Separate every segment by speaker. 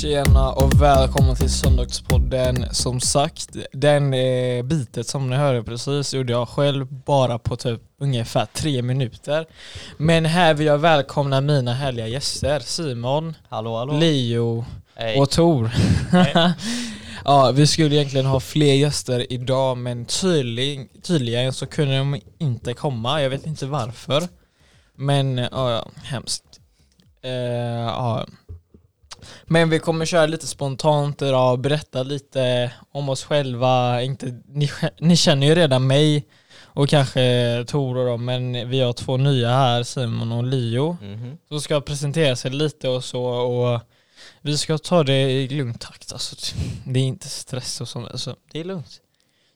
Speaker 1: Tjena och välkommen till Söndagspodden. Som sagt, den eh, bitet som ni hörde precis gjorde jag själv bara på typ ungefär tre minuter. Men här vill jag välkomna mina härliga gäster. Simon,
Speaker 2: Hallå hallå.
Speaker 1: Leo
Speaker 2: Hej.
Speaker 1: och Tor.
Speaker 2: Hej.
Speaker 1: ja, vi skulle egentligen ha fler gäster idag men tydlig, tydligen så kunde de inte komma. Jag vet inte varför. Men eh, ja, ja, hemskt. Eh, ja. Men vi kommer köra lite spontant idag och berätta lite om oss själva. Inte, ni, ni känner ju redan mig och kanske Tor och dem, men vi har två nya här, Simon och Leo.
Speaker 2: Mhm.
Speaker 1: Så ska jag presentera sig lite och så och vi ska ta det i lugn takt. Alltså, det är inte stress och sånt. Alltså, det är lugnt.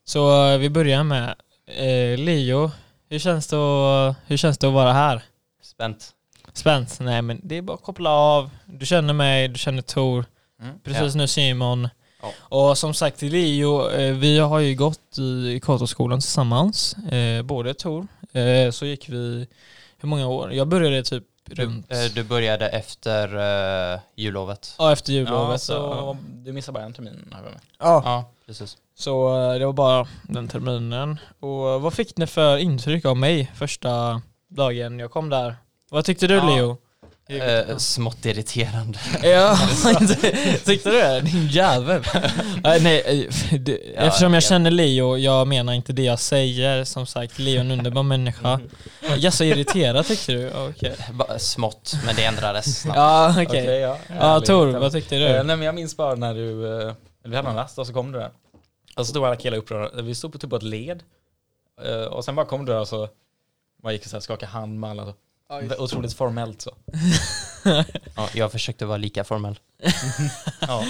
Speaker 1: Så eh, vi börjar med eh, Leo. Hur känns, det att, hur känns det att vara här?
Speaker 2: Spänt.
Speaker 1: Spänt? Nej men det är bara att koppla av. Du känner mig, du känner Tor.
Speaker 3: Mm.
Speaker 1: Precis nu Simon.
Speaker 2: Ja.
Speaker 1: Och som sagt till Leo, eh, vi har ju gått i Katoskolan tillsammans, eh, både Tor. Eh, så gick vi, hur många år? Jag började typ
Speaker 2: Du,
Speaker 1: runt...
Speaker 2: eh, du började efter eh, jullovet.
Speaker 1: Ja, efter
Speaker 3: Ja,
Speaker 1: jullovet.
Speaker 3: så
Speaker 1: så,
Speaker 3: du missar bara en termin. har jag med.
Speaker 1: ja.
Speaker 2: Ja, precis.
Speaker 1: så eh, det var bara den terminen. Och eh, vad fick ni för intryck av mig första dagen jag kom där? Vad tyckte du
Speaker 3: Ja.
Speaker 1: Leo?
Speaker 2: Eh, smått irriterande.
Speaker 1: Ja, tyckte du det? Din jävel. Nej, nej, eh, det, eftersom jag
Speaker 2: ja.
Speaker 1: känner Leo, jag menar inte det jag säger. Som sagt, Leo är en underbar människa. Jag så irriterad tyckte du? Okej.
Speaker 2: Ba- Smått, men det ändrades snabbt.
Speaker 1: Ja, okej.
Speaker 3: ja.
Speaker 1: Ja,
Speaker 3: Härligt.
Speaker 1: Tor, vad tyckte du?
Speaker 3: Eh, nej, men jag minns bara när du, eh, eller vi hade en rast och så kom du där. Och så stod alla killar upprörda. Vi stod på typ på ett led. Eh, och sen bara kom du där och så man gick och så här skakade hand med alla. Så. Otroligt formellt så.
Speaker 2: Ja, jag försökte vara lika formell.
Speaker 3: Ja.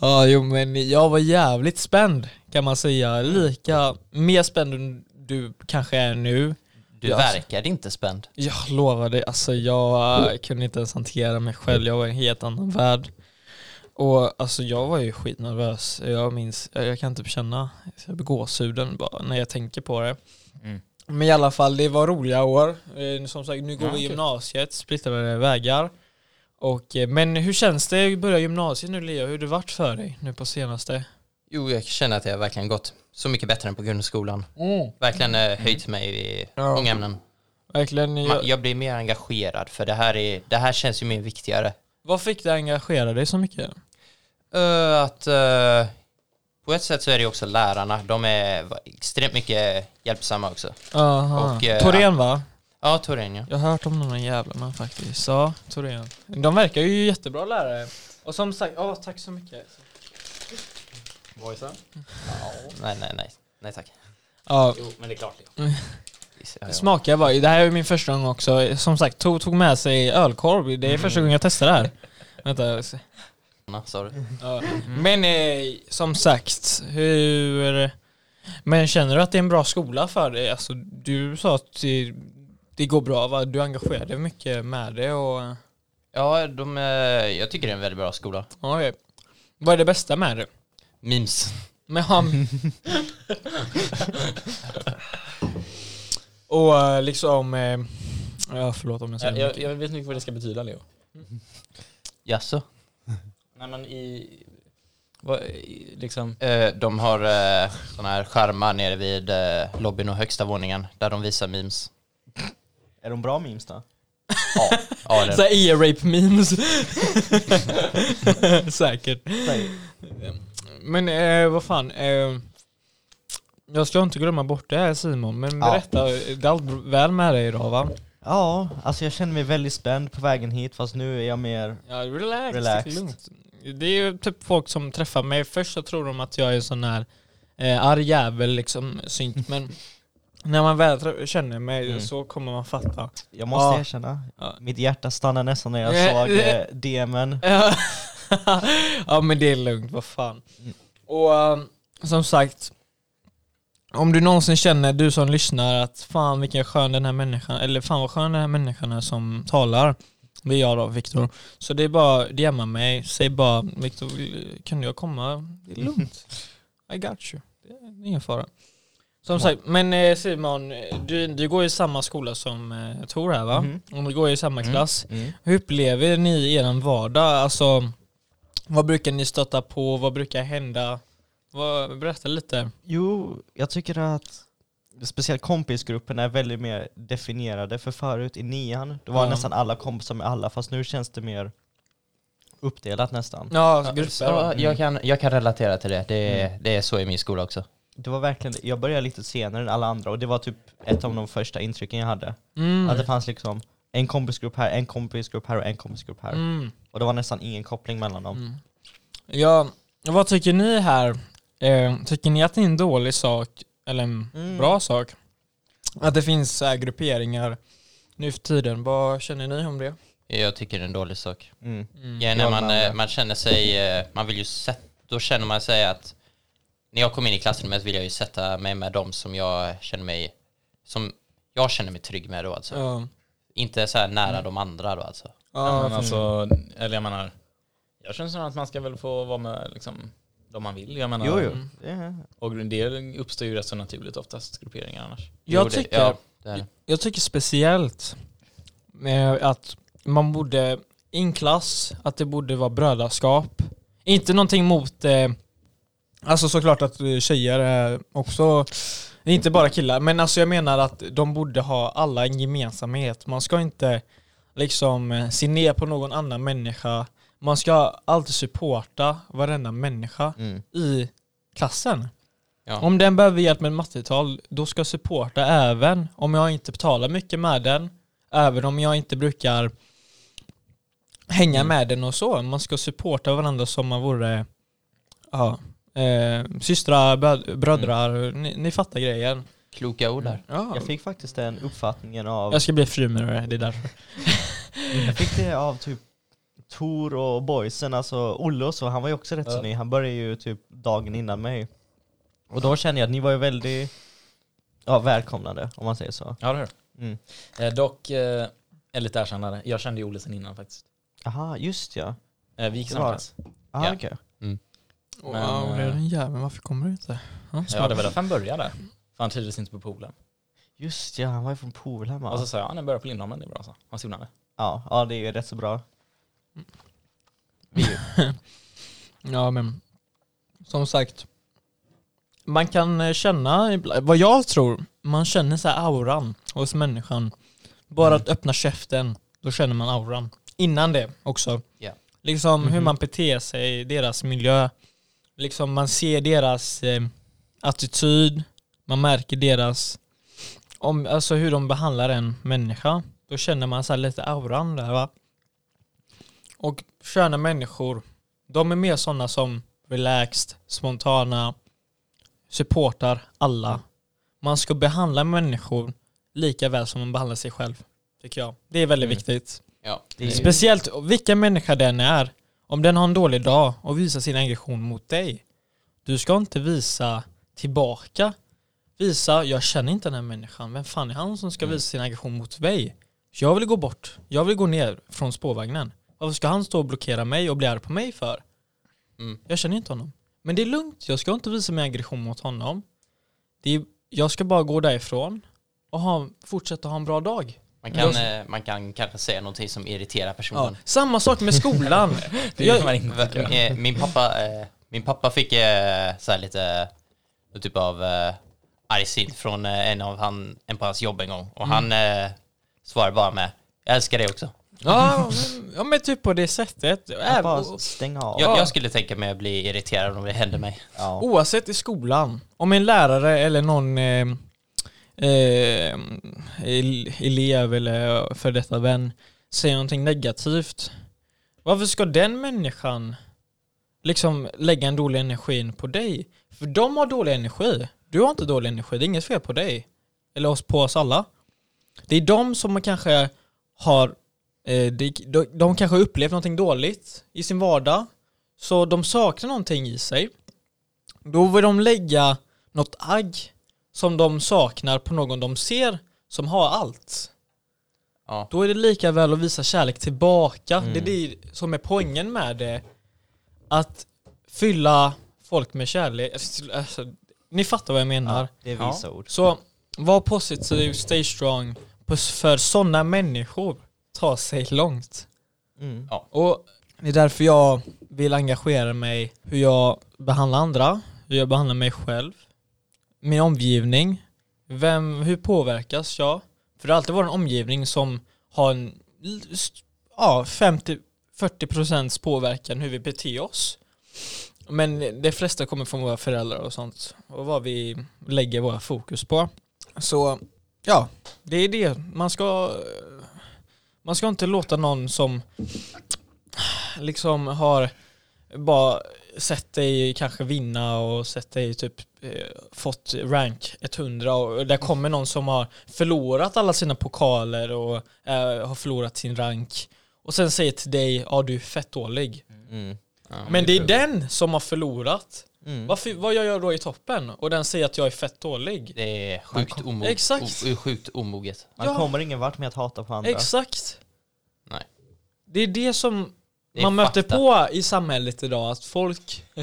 Speaker 1: Ja, jo men jag var jävligt spänd kan man säga. Lika, mer spänd än du kanske är nu.
Speaker 2: Du
Speaker 1: Ja, alltså.
Speaker 2: verkade inte spänd.
Speaker 1: Jag lovar dig, alltså jag eh, kunde inte ens hantera mig själv. Jag var i en helt annan värld. Och alltså jag var ju skitnervös. Jag minns, jag, jag kan typ känna jag blir gåshuden bara när jag tänker på det.
Speaker 3: Mm.
Speaker 1: Men i alla fall, det var roliga år. Eh, Som sagt, nu går
Speaker 3: Ja,
Speaker 1: vi i
Speaker 3: kul.
Speaker 1: gymnasiet, splittrade vägar. Och, eh, men hur känns det att börja gymnasiet nu Leo? Hur har det varit för dig nu på senaste?
Speaker 2: Jo, jag känner att jag verkligen gått så mycket bättre än på grundskolan.
Speaker 1: Mm.
Speaker 2: Verkligen eh, höjt mig i
Speaker 1: Ja.
Speaker 2: många ämnen.
Speaker 1: Verkligen. eh,
Speaker 2: Man,
Speaker 1: Jag,
Speaker 2: jag blir mer engagerad, för det här, är, det här känns ju mer viktigare.
Speaker 1: vad fick dig engagera dig så mycket?
Speaker 2: Eh, att eh, på ett sätt så är det ju också lärarna. De är va- extremt mycket hjälpsamma också.
Speaker 1: Aha.
Speaker 2: Och, eh,
Speaker 1: Torén va?
Speaker 2: Ja, Torén ja.
Speaker 1: Jag har hört om de där jävlarna faktiskt. Ja, Torén. De verkar ju jättebra lärare. Och som sagt, ja tack så mycket.
Speaker 3: Voicen?
Speaker 2: Nej, nej, nej. Nej tack.
Speaker 1: Ja,
Speaker 3: Jo, men det är klart.
Speaker 1: det smakar bara. Det här är min första gång också. Som sagt, tog, tog med sig ölkorv. Det är första gången jag testar det här. Vänta, jag ska se.
Speaker 2: Ja, sorry.
Speaker 1: Ja. Men eh, som sagt, hur... Men känner du att det är en bra skola för dig? Alltså, du sa att det, det går bra va? Du engagerar dig mycket med det och...
Speaker 2: Ja, de, eh, jag tycker det är en väldigt bra skola.
Speaker 1: Okej. Vad är det bästa med det?
Speaker 2: Memes.
Speaker 1: Men han... och eh, liksom... eh, Ja, förlåt om jag säger
Speaker 3: Jag, jag,
Speaker 1: mycket.
Speaker 3: jag vet inte vad det ska betyda Leo.
Speaker 2: Jaså?
Speaker 3: Nej men i, vad, i liksom,
Speaker 2: Eh, de har eh, sådana här skärmar nere vid eh, lobbyn och högsta våningen där de visar memes.
Speaker 4: Är de bra memes då?
Speaker 2: Ja, ja det är
Speaker 1: Såhär e-rape E memes. Säkert. Men eh, vad fan. Eh, jag ska inte glömma bort det här Simon, men
Speaker 4: Ja.
Speaker 1: berätta. Det är allt väl med dig idag va?
Speaker 4: Ja, alltså jag känner mig väldigt spänd på vägen hit fast nu är jag mer...
Speaker 1: Ja, relax.
Speaker 4: Relaxed.
Speaker 1: Lugnt. Det är ju typ folk som träffar mig. Först så tror de att jag är en sån här eh, arg jävel liksom, synt. Men när man väl trä- känner mig
Speaker 4: Mm.
Speaker 1: så kommer man fatta.
Speaker 4: Jag måste
Speaker 1: Ja.
Speaker 4: erkänna,
Speaker 1: Ja.
Speaker 4: mitt hjärta stannade nästan när jag
Speaker 1: Eh,
Speaker 4: såg
Speaker 1: eh.
Speaker 4: eh, DMen.
Speaker 1: ja men det är lugnt, vad fan. Och eh, som sagt, om du någonsin känner, du som lyssnar, att fan vilken skön den här människan, eller fan vad skön den här människan är som talar. Det är jag då, Viktor. Så det är bara, DMa mig, säg bara Viktor, kan jag komma? Det är lugnt. I got you. Det är ingen fara. Som sagt, men eh, Simon, du, du går i samma skola som eh, Tor här va?
Speaker 4: Mhm.
Speaker 1: Och du går i samma
Speaker 2: Mm.
Speaker 1: klass.
Speaker 4: Mm.
Speaker 1: Hur upplever ni er vardag? Alltså, Vad brukar ni stöta på? Vad brukar hända? Vad, berätta lite.
Speaker 4: Jo, jag tycker att speciellt kompisgrupperna är väldigt mer definierade. För förut i nian, då var
Speaker 1: Ja.
Speaker 4: nästan alla kompisar med alla, fast nu känns det mer uppdelat nästan.
Speaker 1: Ja,
Speaker 2: Ja,
Speaker 1: grupper.
Speaker 2: jag, kan, jag kan relatera till det. Det är, det är så i min skola också.
Speaker 4: Det var verkligen, jag började lite senare än alla andra och det var typ ett av de första intrycken jag hade.
Speaker 1: Mm.
Speaker 4: Att det fanns liksom en kompisgrupp här, en kompisgrupp här och en kompisgrupp här.
Speaker 1: Mm.
Speaker 4: Och det var nästan ingen koppling mellan dem.
Speaker 1: Mm. Ja, vad tycker ni här? Eh, tycker ni att det är en dålig sak, eller en
Speaker 4: Mm.
Speaker 1: bra sak, att det finns så här grupperingar nu för tiden? Vad känner ni om det?
Speaker 2: Jag tycker det är en dålig sak.
Speaker 4: Mm.
Speaker 1: Mm.
Speaker 2: Ja, när
Speaker 4: Jag
Speaker 2: man,
Speaker 4: med.
Speaker 2: eh, man känner sig, eh, man vill ju sätta, då känner man sig att när jag kom in i klassrummet vill jag ju sätta mig med dem som jag känner mig, som jag känner mig trygg med då alltså.
Speaker 1: Ja.
Speaker 2: Inte så här nära de andra då alltså.
Speaker 3: Ja,
Speaker 1: Ja,
Speaker 3: men alltså, eller jag menar, jag känner snarare att man ska väl få vara med liksom, de man vill. Jag menar,
Speaker 4: Jo, jo.
Speaker 1: Mm.
Speaker 4: Det är-
Speaker 3: Och det uppstår ju rätt så naturligt oftast, grupperingar annars.
Speaker 1: Jag
Speaker 2: Jo, det-
Speaker 1: tycker-
Speaker 2: ja, det är det.
Speaker 1: Jag tycker speciellt eh, att man borde, i en klass, att det borde vara brödraskap. Inte någonting mot, eh, alltså såklart att eh, tjejer är också, inte bara killar, men alltså jag menar att de borde ha alla en gemensamhet. Man ska inte liksom eh, se ner på någon annan människa. Man ska alltid supporta varenda människa
Speaker 4: Mm.
Speaker 1: i klassen.
Speaker 2: Ja.
Speaker 1: Om den behöver hjälp med mattetal, då ska jag supporta även om jag inte betalar mycket med den, även om jag inte brukar hänga med den och så. Man ska supporta varandra som man vore ja, eh, systrar, bö- brödrar, ni, ni fattar grejen.
Speaker 2: Kloka ord där.
Speaker 1: Mm. Ja.
Speaker 4: Jag fick faktiskt den uppfattningen av,
Speaker 1: Jag ska bli frimurare, det är därför.
Speaker 4: jag fick det av typ Tor och boysen, alltså Olle och så, han var ju också rätt så
Speaker 3: Ja.
Speaker 4: ny. Han började ju typ dagen innan mig. Och då kände jag att ni var ju väldigt ja, välkomnande, om man säger så.
Speaker 3: Ja, det är
Speaker 4: Mm.
Speaker 3: eh, Dock, eh, är lite erkännande, jag kände ju Olle sen innan faktiskt.
Speaker 4: Aha, just ja.
Speaker 3: Eh, vi gick i
Speaker 4: Det
Speaker 3: samma
Speaker 4: var-
Speaker 3: klass.
Speaker 4: Aha,
Speaker 2: Ja.
Speaker 4: okej.
Speaker 1: Wow,
Speaker 3: Men,
Speaker 1: det är
Speaker 3: eh,
Speaker 1: den jäveln, varför kommer du inte? Ja,
Speaker 3: Jag hade väl att han började där. För han trivdes inte på poolen.
Speaker 4: Just ja, han var ju från Polhem
Speaker 3: Och så
Speaker 4: alltså.
Speaker 3: sa jag, han börjar på Lindholmen, det är bra så. Han signade.
Speaker 4: ja, ja, det är ju rätt så bra.
Speaker 1: Ja men som sagt, man kan eh, känna, ibla- vad jag tror, man känner så här auran hos människan. Bara att öppna käften, då känner man auran. Innan det också.
Speaker 2: Ja.
Speaker 1: Liksom hur
Speaker 4: Mhm.
Speaker 1: man beter sig i deras miljö. Liksom man ser deras eh, attityd, man märker deras, om, alltså hur de behandlar en människa. Då känner man så här lite auran där va. Och sköna människor, de är mer sådana som relaxed, spontana, supportar alla. Man ska behandla människor lika väl som man behandlar sig själv. Tycker jag. Det är väldigt
Speaker 3: Mm.
Speaker 1: viktigt.
Speaker 2: Ja. Eh,
Speaker 4: Det är ju-
Speaker 1: Eh, Speciellt vilken människa den är. Om den har en dålig dag och visar sin aggression mot dig. Du ska inte visa tillbaka. Visa, jag känner inte den här människan. Vem fan är han som ska
Speaker 2: Mm.
Speaker 1: visa sin aggression mot mig? Jag vill gå bort. Jag vill gå ner från spårvagnen. Varför ska han stå och blockera mig och bli arg på mig för?
Speaker 2: Mm.
Speaker 1: Jag känner inte honom. Men det är lugnt, jag ska inte visa min aggression mot honom. Det är, jag ska bara gå därifrån och ha, fortsätta ha en bra dag.
Speaker 2: Man, kan, eh, man kan kanske säga någonting som irriterar
Speaker 1: Ja.
Speaker 2: personen.
Speaker 1: Samma sak med skolan.
Speaker 3: Det
Speaker 1: Jag-
Speaker 3: gör man inte tycker jag.
Speaker 2: Eh, Min pappa, eh, min pappa fick eh, så här lite någon typ av eh, argsint från eh, en av han, en på hans jobb en gång. Och han eh, svarade bara med Jag älskar dig också.
Speaker 1: ja, men, ja men typ på det sättet.
Speaker 4: Jag
Speaker 1: Även,
Speaker 4: bara stänga av.
Speaker 2: Jag, jag skulle tänka mig att bli irriterad om det hände mig.
Speaker 4: Ja.
Speaker 1: Oavsett i skolan, om en lärare eller någon eh, eh, el- elev eller för detta vän säger någonting negativt, varför ska den människan liksom lägga en dålig energin på dig? För de har dålig energi, du har inte dålig energi, det är inget fel på dig. Eller oss, på oss alla. Det är de som kanske har, eh, de, de, de kanske har upplevt någonting dåligt i sin vardag, så de saknar någonting i sig. Då vill de lägga något agg som de saknar på någon de ser som har allt.
Speaker 2: Ja.
Speaker 1: Då är det lika väl att visa kärlek tillbaka.
Speaker 4: Mm.
Speaker 1: Det är det som är poängen med det. Att fylla folk med kärlek. Alltså, ni fattar vad jag menar.
Speaker 4: Ja, det är
Speaker 3: Ja.
Speaker 4: visa ord.
Speaker 1: Så var positiv, stay strong. På- För sådana människor tar sig långt.
Speaker 4: Mm.
Speaker 1: Och Det är därför jag vill engagera mig hur jag behandlar andra, hur jag behandlar mig själv, min omgivning. Vem, hur påverkas jag? För det har alltid varit en omgivning som har en l- st- ja, 50-40% påverkan hur vi beter oss. Men de flesta kommer från våra föräldrar och sånt och vad vi lägger våra fokus på. Så ja, det är det. Man ska, man ska inte låta någon som liksom har bara sett dig kanske vinna och sett dig typ eh, fått rank 100 och där kommer någon som har förlorat alla sina pokaler och eh, har förlorat sin rank och sen säger till dig ja du är fett dålig.
Speaker 4: Mm.
Speaker 1: Men det är den som har förlorat.
Speaker 4: Mm.
Speaker 1: Varför, vad gör jag då i toppen? Och den säger att jag är fett dålig.
Speaker 2: Det är sjukt, omo-
Speaker 1: Exakt.
Speaker 2: o- sjukt omoget.
Speaker 4: Man
Speaker 1: Ja.
Speaker 4: kommer ingen vart med att hata på andra.
Speaker 1: Exakt.
Speaker 2: Nej.
Speaker 1: Det är det som
Speaker 2: Det är
Speaker 1: man möter
Speaker 2: fakta.
Speaker 1: på i samhället idag, att folk...
Speaker 3: Ja,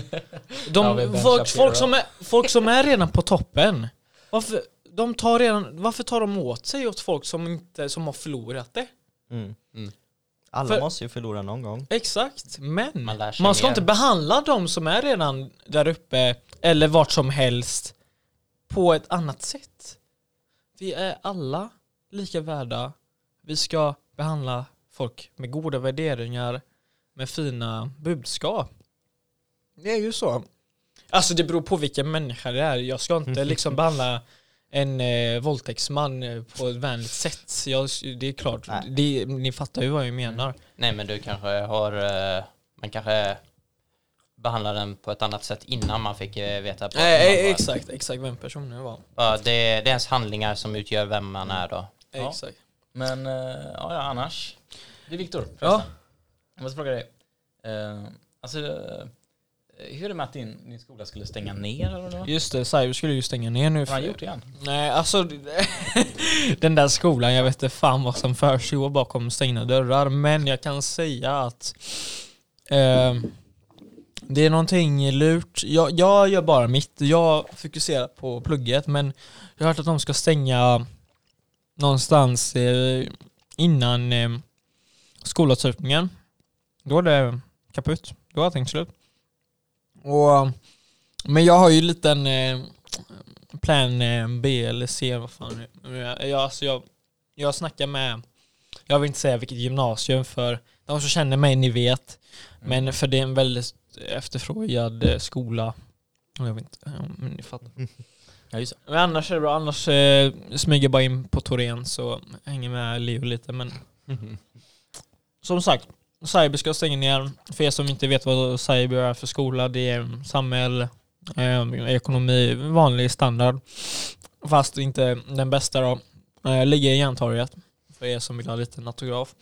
Speaker 1: De,
Speaker 3: vi är Ben
Speaker 1: folk,
Speaker 3: Shapiro.
Speaker 1: folk, som är, folk som är redan på toppen, varför, de tar redan, varför tar de åt sig åt folk som, inte, som har förlorat det?
Speaker 4: Mm.
Speaker 2: Mm.
Speaker 4: Alla
Speaker 1: För-
Speaker 4: måste ju förlora någon gång.
Speaker 1: Exakt, men
Speaker 2: Man lär
Speaker 1: man,
Speaker 2: sig
Speaker 1: ska
Speaker 2: mer.
Speaker 1: inte behandla de som är redan där uppe, eller vart som helst, på ett annat sätt. Vi är alla lika värda. Vi ska behandla folk med goda värderingar, med fina budskap. Det är ju så. Alltså det beror på vilken människa det är. Jag ska inte liksom behandla en eh, våldtäktsman eh, på ett vänligt sätt. Jag, det är klart,
Speaker 4: Nej.
Speaker 1: det, ni fattar ju vad jag menar.
Speaker 2: Nej men du kanske har, eh, man kanske behandlar den på ett annat sätt innan man fick eh, veta. På
Speaker 1: Nej,
Speaker 2: man
Speaker 1: e-
Speaker 2: bara-
Speaker 1: exakt, exakt vem personen var.
Speaker 2: Ja, det, är- det är ens handlingar som utgör vem man är då.
Speaker 3: Ja.
Speaker 1: Exakt.
Speaker 3: Men eh, ja, ja, annars. Du Viktor, förresten.
Speaker 1: Ja.
Speaker 3: Jag måste fråga dig. Eh, alltså, eh, hur är det med att din, din skola skulle stänga ner eller vad det var?
Speaker 1: Just det, Cyber skulle ju stänga ner nu.
Speaker 3: Har han gjort det igen?
Speaker 1: Nej, alltså den där skolan, jag vet inte fan vad som försiggår bakom stängda dörrar. Men jag kan säga att eh, det är någonting lurt. Jag, jag gör bara mitt. Jag fokuserar på plugget, men jag har hört att de ska stänga någonstans eh, innan eh, skolavslutningen. Då är det kaputt. Då är allting slut. Och, men jag har ju en liten eh, plan eh, B eller C, vad fan det är. jag, jag, alltså jag, jag snackar med, jag vill inte säga vilket gymnasium för de som känner mig, ni vet. Men för det är en väldigt efterfrågad eh, skola. Jag vet inte, ja, men ni fattar.
Speaker 3: Ja, just det.
Speaker 1: Men annars är det bra, annars eh, smyger jag bara in på Torén så hänger med Leo lite men Som sagt, Cyber ska stänga ner. För er som inte vet vad Cyber är för skola, det är samhälle, eh, ekonomi, vanlig standard. Fast inte den bästa då. Eh, ligger i Järntorget, för er som vill ha lite autograf.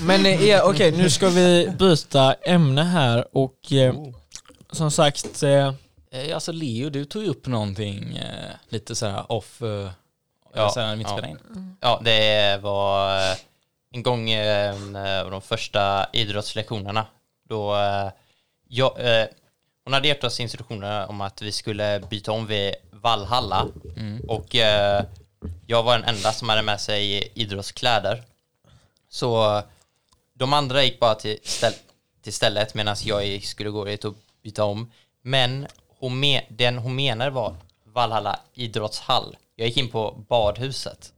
Speaker 1: Men eh, er- okej, nu ska vi byta ämne här och eh, som sagt eh,
Speaker 3: Eh, alltså Leo, du tog ju upp någonting eh, lite sådär off, eh, ja,
Speaker 2: Ja,
Speaker 3: sådär när vi inte
Speaker 2: ja.
Speaker 3: spelade in.
Speaker 2: Ja, det var eh, en gång eh, en eh, av de första idrottslektionerna. Då eh, jag, eh, hon hade gett oss instruktioner om att vi skulle byta om vid Valhalla. Och eh, jag var den enda som hade med sig idrottskläder. Så de andra gick bara till, ställ- till stället medan jag gick- skulle gå dit och byta om. Men hon me- den hon menar var Valhalla idrottshall. Jag gick in på badhuset.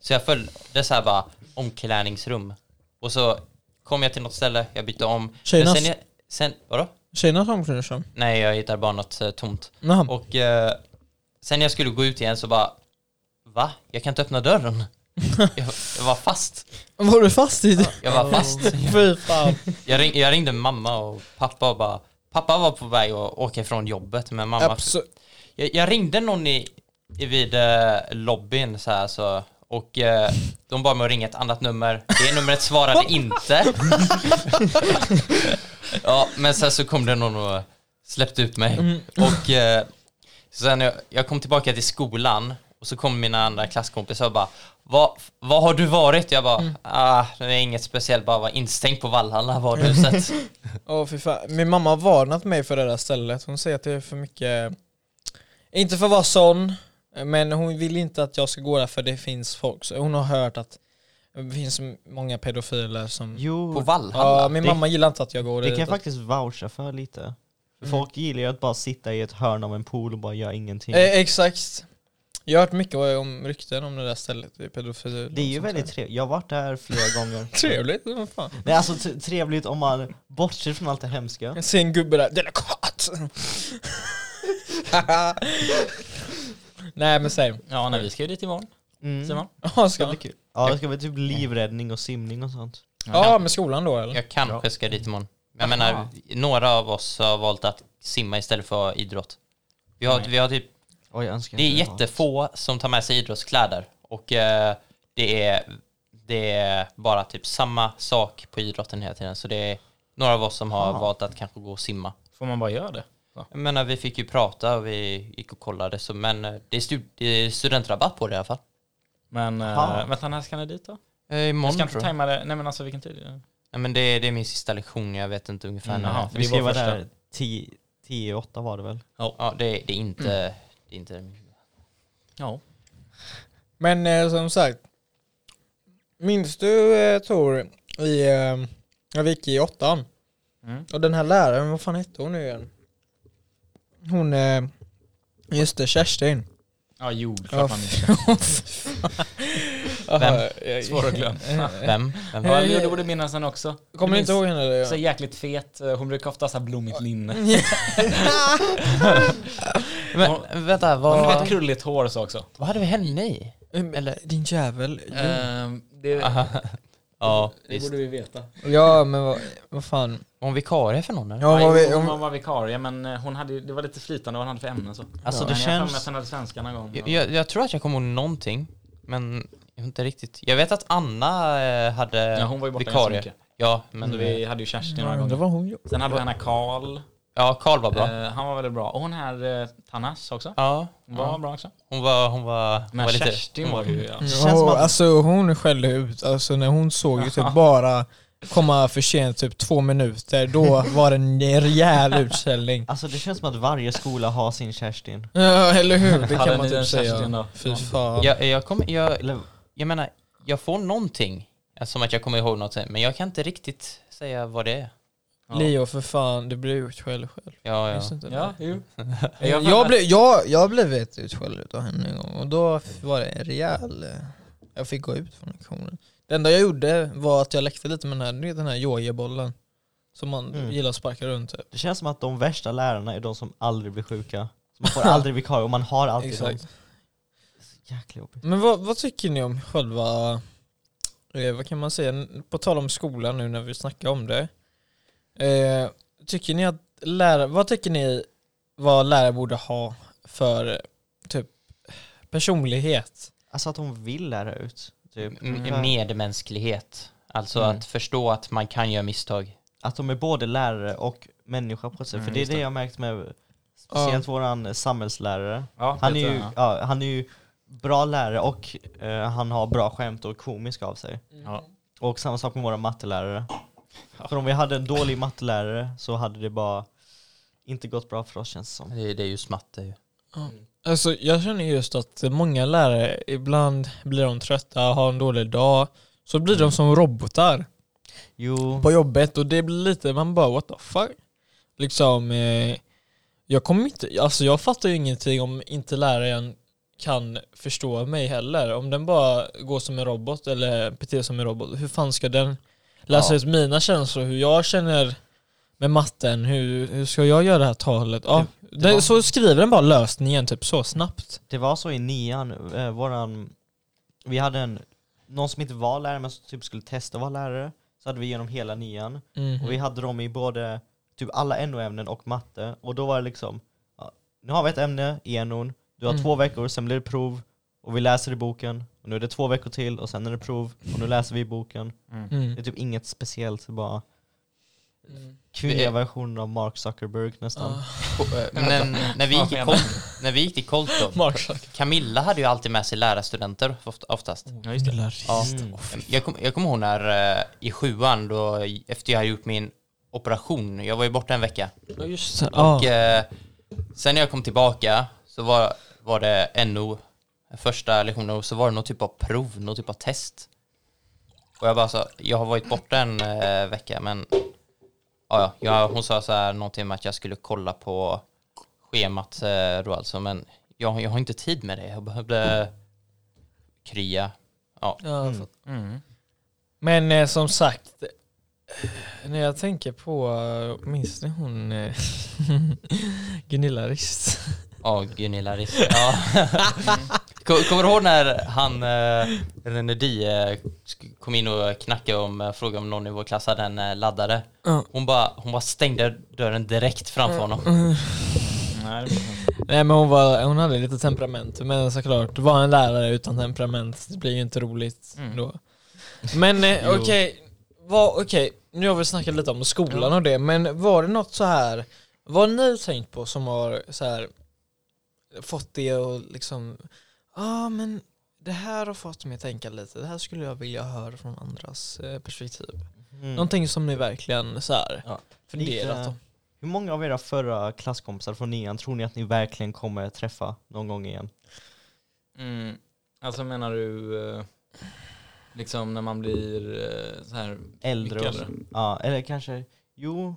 Speaker 2: Så jag följde så här bara omklädningsrum. Och så kom jag till något ställe, jag bytte om.
Speaker 1: Tjejernas?
Speaker 2: Men Sen, sen, vadå?
Speaker 1: Tjejernas omklädningsrum?
Speaker 2: Nej, jag hittade bara något eh, tomt.
Speaker 1: Jaha.
Speaker 2: Och eh, sen när jag skulle gå ut igen så bara, va? Jag kan inte öppna dörren. jag, jag var fast.
Speaker 1: Var du fast i det?
Speaker 2: Jag var fast.
Speaker 1: Fy fan.
Speaker 2: Jag, ring, jag ringde mamma och pappa och bara, pappa var på väg att åka ifrån jobbet men mamma...
Speaker 1: Absu-
Speaker 2: Jag, jag ringde någon i, i vid eh, lobbyn så här så och eh, de bad mig att ringa ett annat nummer. Det numret svarade inte. ja, men sen så kom det någon och släppte ut mig. Och eh, sen jag, jag kom tillbaka till skolan och så kom mina andra klasskompisar och bara vad, vad har du varit? Jag bara, ah, det är inget speciellt, bara var instängd på Vallhalla varuhuset.
Speaker 1: Åh fy fan. Min mamma har varnat mig för det där stället. Hon säger att det är för mycket, inte för att vara sån, men hon vill inte att jag ska gå där för det finns folk. Så hon har hört att Det finns många pedofiler som...
Speaker 4: Jo,
Speaker 2: På
Speaker 1: ja,
Speaker 2: Vallhalla?
Speaker 1: min
Speaker 4: det-
Speaker 1: mamma gillar inte att jag går
Speaker 4: det kan jag
Speaker 1: dit.
Speaker 4: faktiskt voucha för lite. För
Speaker 1: Mm.
Speaker 4: Folk gillar ju att bara sitta i ett hörn av en pool och bara göra ingenting.
Speaker 1: Eh, exakt. Jag har hört mycket om rykten om det där stället, det är pedofil.
Speaker 4: det är ju väldigt trevligt. Jag har varit där flera gånger.
Speaker 1: trevligt. Vad fan.
Speaker 4: Nej alltså t- trevligt om man bortser från allt det hemska.
Speaker 1: Jag ser en gubbe där, delikat! Nej men säg.
Speaker 3: Ja, nej, vi ska ju dit imorgon, Simon.
Speaker 1: Ja, ska
Speaker 4: Mm. Ska
Speaker 1: man?
Speaker 4: bli kul. Ja det ska bli typ livräddning och simning och sånt.
Speaker 1: Ja, med skolan då eller?
Speaker 2: Jag kanske ska dit imorgon. Jag menar, några av oss har valt att simma istället för idrott. Vi har, vi har typ,
Speaker 4: Oj, jag önskar
Speaker 2: det är
Speaker 4: jag hade varit.
Speaker 2: jättefå som tar med sig idrottskläder. Och eh, det, är, det är bara typ samma sak på idrotten hela tiden. Så det är några av oss som har
Speaker 4: Ah.
Speaker 2: valt att kanske gå och simma.
Speaker 3: Får man bara göra det?
Speaker 2: Jag menar, vi fick ju prata och vi gick och kollade. Så, men eh, det är, stu, det är studentrabatt på det i alla fall.
Speaker 3: Men
Speaker 4: Ja.
Speaker 3: uh, vänta, när ska ni dit då?
Speaker 2: Eh,
Speaker 3: Jag
Speaker 2: imorgon
Speaker 3: ska
Speaker 2: tror
Speaker 3: inte
Speaker 2: jag.
Speaker 3: tajma det. Nej men alltså vilken tid? är det?
Speaker 2: Nej, men det, det är min sista lektion, jag vet inte ungefär
Speaker 3: Mm,
Speaker 2: när.
Speaker 3: jaha.
Speaker 4: Vi
Speaker 3: Det
Speaker 4: ska
Speaker 3: var
Speaker 4: vara
Speaker 3: första.
Speaker 4: där 10 10 och 8 var det väl?
Speaker 2: Ja, det, det är inte... Det är inte
Speaker 3: Ja.
Speaker 1: Men eh, som sagt, minns du eh, Tor, i, eh, när vi gick i åttan?
Speaker 3: Mm.
Speaker 1: Och den här läraren, vad fan hette hon nu igen? Hon, eh, just det, Kerstin.
Speaker 3: Ja, jo, klart
Speaker 1: Ja,
Speaker 3: man
Speaker 1: f-
Speaker 3: inte.
Speaker 1: Jaha,
Speaker 2: Vem?
Speaker 1: jag-
Speaker 3: Svår att glömma.
Speaker 2: Vem? Vem?
Speaker 3: Ja, jo, du borde minnas henne också.
Speaker 1: Kommer ni inte ihåg henne?
Speaker 3: Så
Speaker 1: eller?
Speaker 3: jäkligt fet. eh, Hon brukar ofta ha så här blommigt linne.
Speaker 2: Men, vänta,
Speaker 3: Hon har ett
Speaker 2: vad,
Speaker 3: krulligt hår så också.
Speaker 2: vad hade vi henne i? Eller?
Speaker 1: Din jävel.
Speaker 3: Ehm, det,
Speaker 2: Ja,
Speaker 3: det
Speaker 2: visst.
Speaker 3: borde vi veta.
Speaker 1: Ja, men vad, vad fan.
Speaker 2: Var hon vikarie för någon? eller?
Speaker 1: Ja, vad
Speaker 3: Nej,
Speaker 1: vi,
Speaker 3: hon,
Speaker 1: om,
Speaker 3: hon var vikarie men eh, hon hade, ju- det var lite flytande vad hon hade för ämnen så.
Speaker 4: Alltså
Speaker 3: men
Speaker 4: det
Speaker 3: jag har för mig
Speaker 4: känns...
Speaker 3: att hon hade svenska någon gång.
Speaker 2: Jag, jag, jag tror att jag kommer ihåg någonting, men jag har inte riktigt. Jag vet att Anna eh, hade
Speaker 3: ja, hon Mm. var ju borta ganska
Speaker 2: vikarie. Mm.
Speaker 3: mycket.
Speaker 2: Ja,
Speaker 3: Men
Speaker 2: men
Speaker 3: vi hade ju Kerstin några
Speaker 1: undrar
Speaker 3: gånger.
Speaker 1: vad hon gjorde.
Speaker 3: Sen hade vi Anna Karl.
Speaker 2: Ja, Karl var bra.
Speaker 3: Eh, han var väldigt bra. Och hon här, eh, Tanas också.
Speaker 2: ja,
Speaker 3: Hon var
Speaker 2: ja.
Speaker 3: bra också.
Speaker 2: Hon var, hon var, hon
Speaker 3: Men
Speaker 2: var lite...
Speaker 3: Kerstin var ju... Ja.
Speaker 4: Det känns som
Speaker 1: Ja,
Speaker 4: att-
Speaker 1: alltså hon skällde ut, alltså när hon såg ju typ bara komma för sent typ två minuter, då var det en rejäl utskällning.
Speaker 4: Alltså det känns som att varje skola har sin Kerstin.
Speaker 1: Ja, eller hur? Det
Speaker 3: Hade
Speaker 1: kan man
Speaker 3: ni en
Speaker 1: typ
Speaker 3: Kerstin då?
Speaker 1: säga. Fy fan.
Speaker 2: Jag, jag, kommer, jag,
Speaker 4: Eller,
Speaker 2: jag menar, jag får någonting. alltså, Som att jag kommer ihåg något, men jag kan inte riktigt säga vad det är.
Speaker 1: Leo, för fan, du blev utskälld själv.
Speaker 2: Ja, ja.
Speaker 1: Minns du inte det?
Speaker 3: Ja, jo.
Speaker 1: Jag, jag, blev, jag, jag blev vet utskälld utav henne en gång och då var det en rejäl... eh, Jag fick gå ut från lektionen. Det enda jag gjorde var att jag lekte lite med den här, ni vet den här yogabollen. Som man
Speaker 4: Mm.
Speaker 1: gillar att sparka runt typ.
Speaker 4: det känns som att de värsta lärarna är de som aldrig blir sjuka. Så man får aldrig vikarie och man har alltid
Speaker 1: Exakt.
Speaker 4: Exakt. Jäkla jobbigt.
Speaker 1: Men vad, vad tycker ni om själva, eh, vad kan man säga, N- på tal om skolan nu när vi snackar om det. Eh, tycker ni att lärare, vad tycker ni vad lärare borde ha för eh, typ personlighet?
Speaker 4: Alltså att de vill lära ut. Typ.
Speaker 2: M- medmänsklighet. Alltså
Speaker 3: Mm.
Speaker 2: att förstå att man kan göra misstag.
Speaker 4: Att de är både lärare och människa på ett sätt.
Speaker 3: Mm,
Speaker 4: För det är
Speaker 3: just
Speaker 4: det jag har märkt med speciellt våran samhällslärare.
Speaker 3: Ja,
Speaker 4: Han är,
Speaker 3: Peter,
Speaker 4: ju,
Speaker 3: ja.
Speaker 4: ja, han är ju bra lärare och eh, han har bra skämt och komisk av sig.
Speaker 3: Ja.
Speaker 4: Och samma sak med våra mattelärare. För om vi hade en dålig mattelärare så hade det bara inte gått bra för oss känns det som.
Speaker 2: Det, det är ju smatt det är ju.
Speaker 1: Alltså jag känner just att många lärare, ibland blir de trötta, har en dålig dag, så blir de som robotar
Speaker 4: Jo,
Speaker 1: på jobbet och det blir lite, man bara what the fuck? Liksom, eh, jag kommer inte, alltså jag fattar ju ingenting om inte läraren kan förstå mig heller. Om den bara går som en robot eller beter sig som en robot, hur fan ska den läsa
Speaker 2: Ja.
Speaker 1: ut mina känslor, hur jag känner med matten, hur, hur ska jag göra det här talet? Ja, den,
Speaker 4: var-
Speaker 1: Så skriver den bara lösningen typ så snabbt.
Speaker 4: det var så i nian, eh, våran, vi hade en, någon som inte var lärare men som typ skulle testa att vara lärare. Så hade vi genom hela nian.
Speaker 1: Mhm.
Speaker 4: Och vi hade dem i både typ alla NO-ämnen och matte. Och då var det liksom, ja, nu har vi ett ämne i NOn, du har
Speaker 1: Mm.
Speaker 4: två veckor, sen blir det prov. Och vi läser i boken, och nu är det två veckor till och sen är det prov. Och nu läser vi i boken.
Speaker 1: Mm.
Speaker 4: Det är typ inget speciellt, det är bara
Speaker 1: Mm.
Speaker 2: Det
Speaker 4: kvinnliga
Speaker 2: är-
Speaker 4: versionen av Mark Zuckerberg nästan.
Speaker 1: Ah,
Speaker 2: Men Eh, när vi gick i Colt- när vi gick i Colton,
Speaker 1: Mark Zuckerberg.
Speaker 2: Camilla hade ju alltid med sig lärarstudenter oft- oftast.
Speaker 3: Ja, just det.
Speaker 4: Ja. Mm.
Speaker 2: Jag kommer jag kommer ihåg när eh, i sjuan, då, efter jag hade gjort min operation, jag var ju borta en vecka.
Speaker 1: Ja, just det.
Speaker 2: Och eh, sen när jag kom tillbaka så var, var det NO, första lektionen, och så var det någon typ av prov, någon typ av test. Och jag bara sa, jag har varit borta en eh, vecka men ja, ja, jag, hon sa så här någonting om att jag skulle kolla på schemat eh, då alltså men jag, jag har inte tid med det. Jag behövde krya. Ja,
Speaker 1: Ja, jag fattar.
Speaker 3: Mm.
Speaker 1: Men eh, som sagt, eh, när jag tänker på, eh, minns ni hon eh, Gunilla Rist?
Speaker 2: ja Gunilla Risk. Ja. Ko- Kommer du ihåg när han, eh, Renedi, eh, sk- kom in och knackade om, eh, frågade om någon i vår klass hade en eh, laddare?
Speaker 1: Ja. Mm.
Speaker 2: Hon bara, hon bara stängde dörren direkt framför honom.
Speaker 3: Nej, det minns jag inte.
Speaker 1: Nej men hon, var, hon hade lite temperament, men såklart, det var en lärare utan temperament, det blir ju inte roligt
Speaker 3: Mm.
Speaker 1: då. Men eh,
Speaker 2: Jo.
Speaker 1: okej, okay, nu har vi snackat lite om skolan och det, men var det något så här vad har ni tänkt på som har så här, fått det att liksom, ja ah, men det här har fått mig att tänka lite, det här skulle jag vilja höra från andras eh, perspektiv.
Speaker 4: Mm.
Speaker 1: Någonting som ni verkligen så här,
Speaker 4: Ja.
Speaker 1: funderat
Speaker 4: Lite-
Speaker 1: om.
Speaker 4: Hur många av era förra klasskompisar från nian tror ni att ni verkligen kommer träffa någon gång igen?
Speaker 3: Mm. Alltså menar du eh, liksom när man blir eh, så här
Speaker 4: Äldre
Speaker 3: mycket
Speaker 4: och Ja, eller kanske, jo,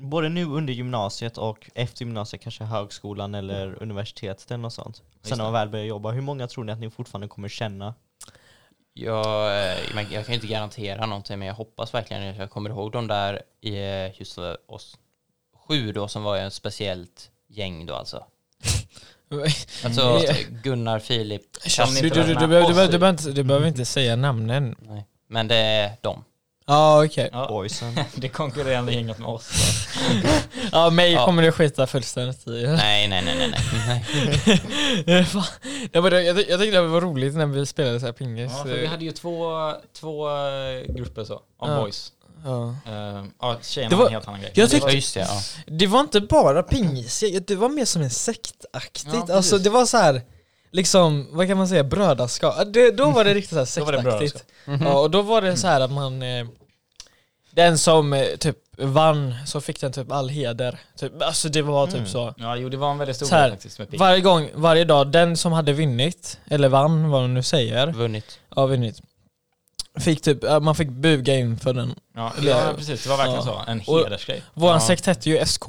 Speaker 4: både nu under gymnasiet och efter gymnasiet, kanske högskolan eller universitetet eller något sånt.
Speaker 3: Mm. Just
Speaker 4: Sen när man väl börjar jobba, hur många tror ni att ni fortfarande kommer känna?
Speaker 2: Jag, eh, men jag kan ju inte garantera någonting men jag hoppas verkligen att jag kommer ihåg de där i eh, just eh, oss sju då som var ju en speciellt gäng då alltså. Alltså
Speaker 1: Mm.
Speaker 2: Gunnar, Filip,
Speaker 1: Alltså, Du, du, du,
Speaker 3: inte
Speaker 1: du,
Speaker 3: lämna
Speaker 1: behöver- du,
Speaker 3: oss
Speaker 1: behöver- du,
Speaker 3: i-
Speaker 1: behöver inte- du behöver inte säga namnen.
Speaker 2: nej. Men det är de.
Speaker 1: Ja okej.
Speaker 3: Ja.
Speaker 4: Boysen?
Speaker 3: Det konkurrerande gänget med oss.
Speaker 1: Ja mig
Speaker 2: Ja.
Speaker 1: kommer du skita fullständigt i.
Speaker 2: Nej, nej, nej, nej, nej. nej.
Speaker 1: Fan. jag, bara, jag, jag tyckte det var roligt när vi spelade så här pingis.
Speaker 3: Ja, för vi hade ju två, två eh, grupper så, om
Speaker 1: Ja.
Speaker 3: boys.
Speaker 1: Ja.
Speaker 3: Eh, Ja, tjejerna
Speaker 1: Det
Speaker 3: var
Speaker 1: var-
Speaker 3: en helt annan grej.
Speaker 1: jag
Speaker 3: Det
Speaker 2: Ja,
Speaker 3: var-
Speaker 2: just det. Ja.
Speaker 1: Det var inte bara pingis, jag- det var mer som en sektaktigt.
Speaker 3: Ja, precis.
Speaker 1: alltså det var så här liksom, vad kan man säga, brödraskap. Det, då var det riktigt så här
Speaker 3: Då var det Mhm.
Speaker 1: sektaktigt. Ja, och då var det så här att man, eh, den som eh, typ vann så fick den typ all heder. Typ, alltså det var typ
Speaker 4: Mm.
Speaker 1: så.
Speaker 3: Ja, jo det var en väldigt stor
Speaker 1: Så här,
Speaker 3: grej faktiskt med pigg.
Speaker 1: Varje gång, varje dag, den som hade vinnit, eller vann vad man nu säger,
Speaker 2: Vunnit.
Speaker 1: ja vinnit, fick typ, ja, man fick buga inför den.
Speaker 3: Ja,
Speaker 1: eller-
Speaker 3: ja, precis. Det var verkligen
Speaker 1: Ja.
Speaker 3: så. En
Speaker 1: Och-
Speaker 3: hedersgrej.
Speaker 1: Våran
Speaker 2: Ja.
Speaker 1: sekt hette ju SK.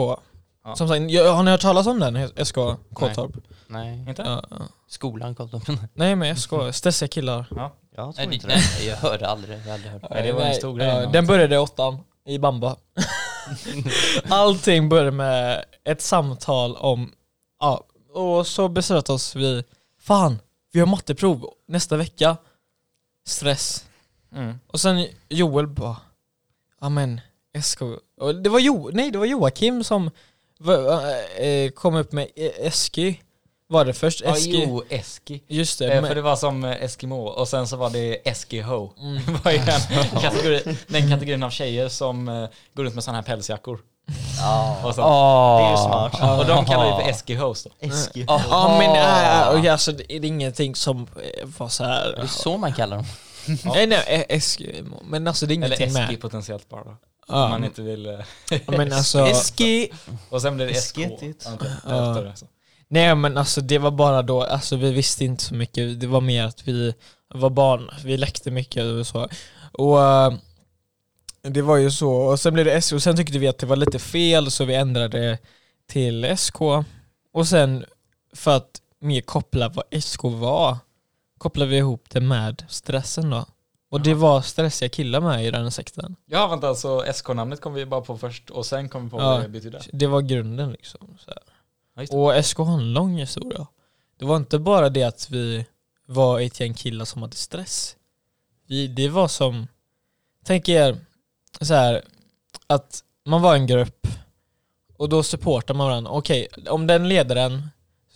Speaker 3: Ja.
Speaker 1: Som sagt, jag- har ni hört talas om den? SK Kåtorp?
Speaker 2: Nej.
Speaker 3: Inte?
Speaker 1: Ja, ja.
Speaker 2: Skolan kom de.
Speaker 1: Nej men SK, stressiga killar.
Speaker 4: Jag tror
Speaker 2: Nej,
Speaker 4: inte
Speaker 2: det-
Speaker 4: det.
Speaker 2: nej, jag hörde aldrig. Jag hade hört.
Speaker 3: Nej, det var en stor grej när man-
Speaker 1: den började i åttan, i bamba. Allting började med ett samtal om, ja, och så beslöt oss vi, fan, vi har matteprov nästa vecka. Stress.
Speaker 3: Mm.
Speaker 1: Och sen Joel bara, ja men SK, och det var, jo, nej, det var Joakim som var, eh, kom upp med eh, Eski, var det först?
Speaker 3: Ja,
Speaker 1: Eski?
Speaker 3: jo, Eski.
Speaker 1: Just det.
Speaker 3: Eh,
Speaker 1: men-
Speaker 3: För det var som eh, Eskimo och sen så var det Eskiho.
Speaker 1: Mm.
Speaker 3: Det var ju den, kategori, den kategorin av tjejer som eh, går runt med sådana här pälsjackor. Och, sånt.
Speaker 4: Det är ju
Speaker 2: Ah.
Speaker 4: smart.
Speaker 3: och de kallar vi för Eskihos då.
Speaker 4: Eski.
Speaker 1: Ja men äh, okej, alltså, det är ingenting som eh, var så här.
Speaker 2: Det är så man kallar dem.
Speaker 1: Nej nej, eh, Eskimo. Men alltså det är
Speaker 3: Eller
Speaker 1: ingenting
Speaker 3: Eski
Speaker 1: med.
Speaker 3: potentiellt bara då. Om man
Speaker 1: Ja,
Speaker 3: inte vill... eh,
Speaker 1: men alltså,
Speaker 2: Eski!
Speaker 3: Och sen blir det SK.
Speaker 4: Esketigt.
Speaker 3: antar jag,
Speaker 1: Ja.
Speaker 3: därefter, alltså.
Speaker 1: nej men alltså det var bara då, alltså vi visste inte så mycket. Det var mer att vi var barn, vi läckte mycket och så. Och eh, det var ju så, och sen blev det SK, och sen tyckte vi att det var lite fel så vi ändrade till SK. Och sen för att mer koppla vad SK var, kopplade vi ihop det med stressen då. Och det var stressiga killar med i den här sekten.
Speaker 3: Ja vänta, så SK-namnet kom vi bara på först och sen kom vi på
Speaker 1: Ja.
Speaker 3: vad det betyder.
Speaker 1: Det var grunden liksom. Så här.
Speaker 3: Ja, just det.
Speaker 1: Och SK har en lång historia. Det var inte bara det att vi var ett gäng killar som hade stress. Vi, det var som, tänk er så här, att man var en grupp och då supportar man varandra. Okej, om den ledaren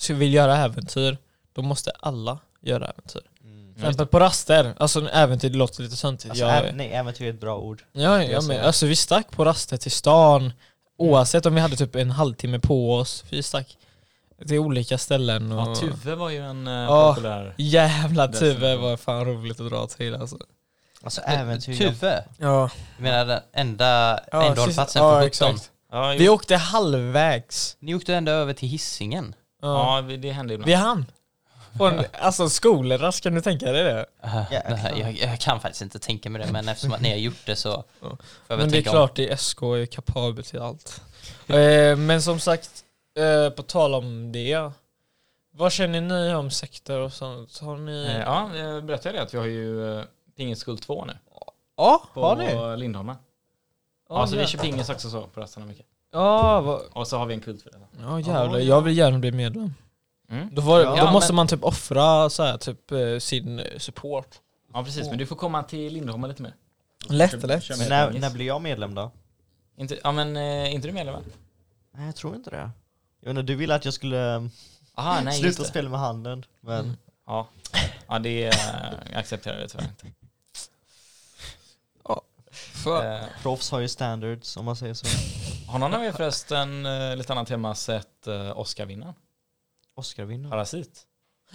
Speaker 1: vill göra äventyr, då måste alla göra äventyr.
Speaker 4: Mm.
Speaker 1: Till exempel på raster, alltså äventyr det låter lite söntigt.
Speaker 4: Alltså,
Speaker 1: Jag-
Speaker 4: ä- nej, äventyr är ett bra ord.
Speaker 1: Ja,
Speaker 3: jag
Speaker 1: ja men,
Speaker 3: säga.
Speaker 1: alltså vi stack på raster till stan Oavsett om vi hade typ en halvtimme på oss Vi stack till olika ställen och
Speaker 3: Ja, Tuve var ju en eh,
Speaker 1: Ja.
Speaker 3: populär...
Speaker 1: Jävla
Speaker 3: Det är
Speaker 1: Tuve
Speaker 3: så.
Speaker 1: var fan roligt att dra till alltså
Speaker 4: Alltså äventyr.
Speaker 3: typ-
Speaker 2: Tuve.
Speaker 1: Ja,
Speaker 2: Du menar den enda
Speaker 1: Ja,
Speaker 2: enda
Speaker 1: sist-
Speaker 2: hållplatsen
Speaker 1: ja,
Speaker 2: på 17?
Speaker 1: exakt.
Speaker 3: Ja,
Speaker 1: Vi åkte halvvägs
Speaker 2: Ni åkte ända över till hissingen.
Speaker 1: Ja,
Speaker 3: ja, vi- det hände ju ibland.
Speaker 1: vi hann På en, alltså skolrast, kan du tänka dig det?
Speaker 2: Eh, det här, jag, jag kan faktiskt inte tänka mig det, men eftersom att ni har gjort det så får
Speaker 1: Men
Speaker 2: jag väl
Speaker 1: det är
Speaker 2: tänka om.
Speaker 1: klart, det är SK är kapabel till allt. eh, men som sagt, eh, på tal om det. Vad känner ni om sekter och sånt? Har ni...
Speaker 3: Eh, Ja, jag berättade det att vi har ju eh, Pingiskull 2 nu.
Speaker 1: Ja,
Speaker 3: På
Speaker 1: har ni?
Speaker 3: Lindholmen. Ja,
Speaker 1: Ja,
Speaker 3: så vi
Speaker 1: jä-
Speaker 3: kör pingis också så på rasterna mycket.
Speaker 1: Ja, vad...
Speaker 3: Och så har vi en kult för det.
Speaker 1: Ja jävlar, jag vill gärna bli medlem.
Speaker 3: Mm.
Speaker 1: Då, var,
Speaker 2: Ja,
Speaker 1: då
Speaker 2: men-
Speaker 1: måste man typ offra så här, typ, eh, sin eh, support.
Speaker 3: Ja, precis. Men du får komma till Lindholmen lite mer.
Speaker 1: Lätt, lätt.
Speaker 3: Kör med
Speaker 4: När,
Speaker 3: pingis.
Speaker 4: när blir jag medlem då?
Speaker 3: Inte, ja, men eh, inte du medlem? va?
Speaker 4: Nej, jag tror inte det. Jag vet inte, du ville att jag skulle eh,
Speaker 3: Aha, nej, just
Speaker 4: sluta
Speaker 3: det.
Speaker 4: spela med handen. Men
Speaker 3: Ja, ja det eh, accepterar vi tyvärr inte. Eh,
Speaker 4: proffs har ju standards om man säger så.
Speaker 3: har någon av er förresten, eh, lite annat tema, sett eh, Oscar-vinnaren?
Speaker 4: Oscarvinnare.
Speaker 3: Parasit?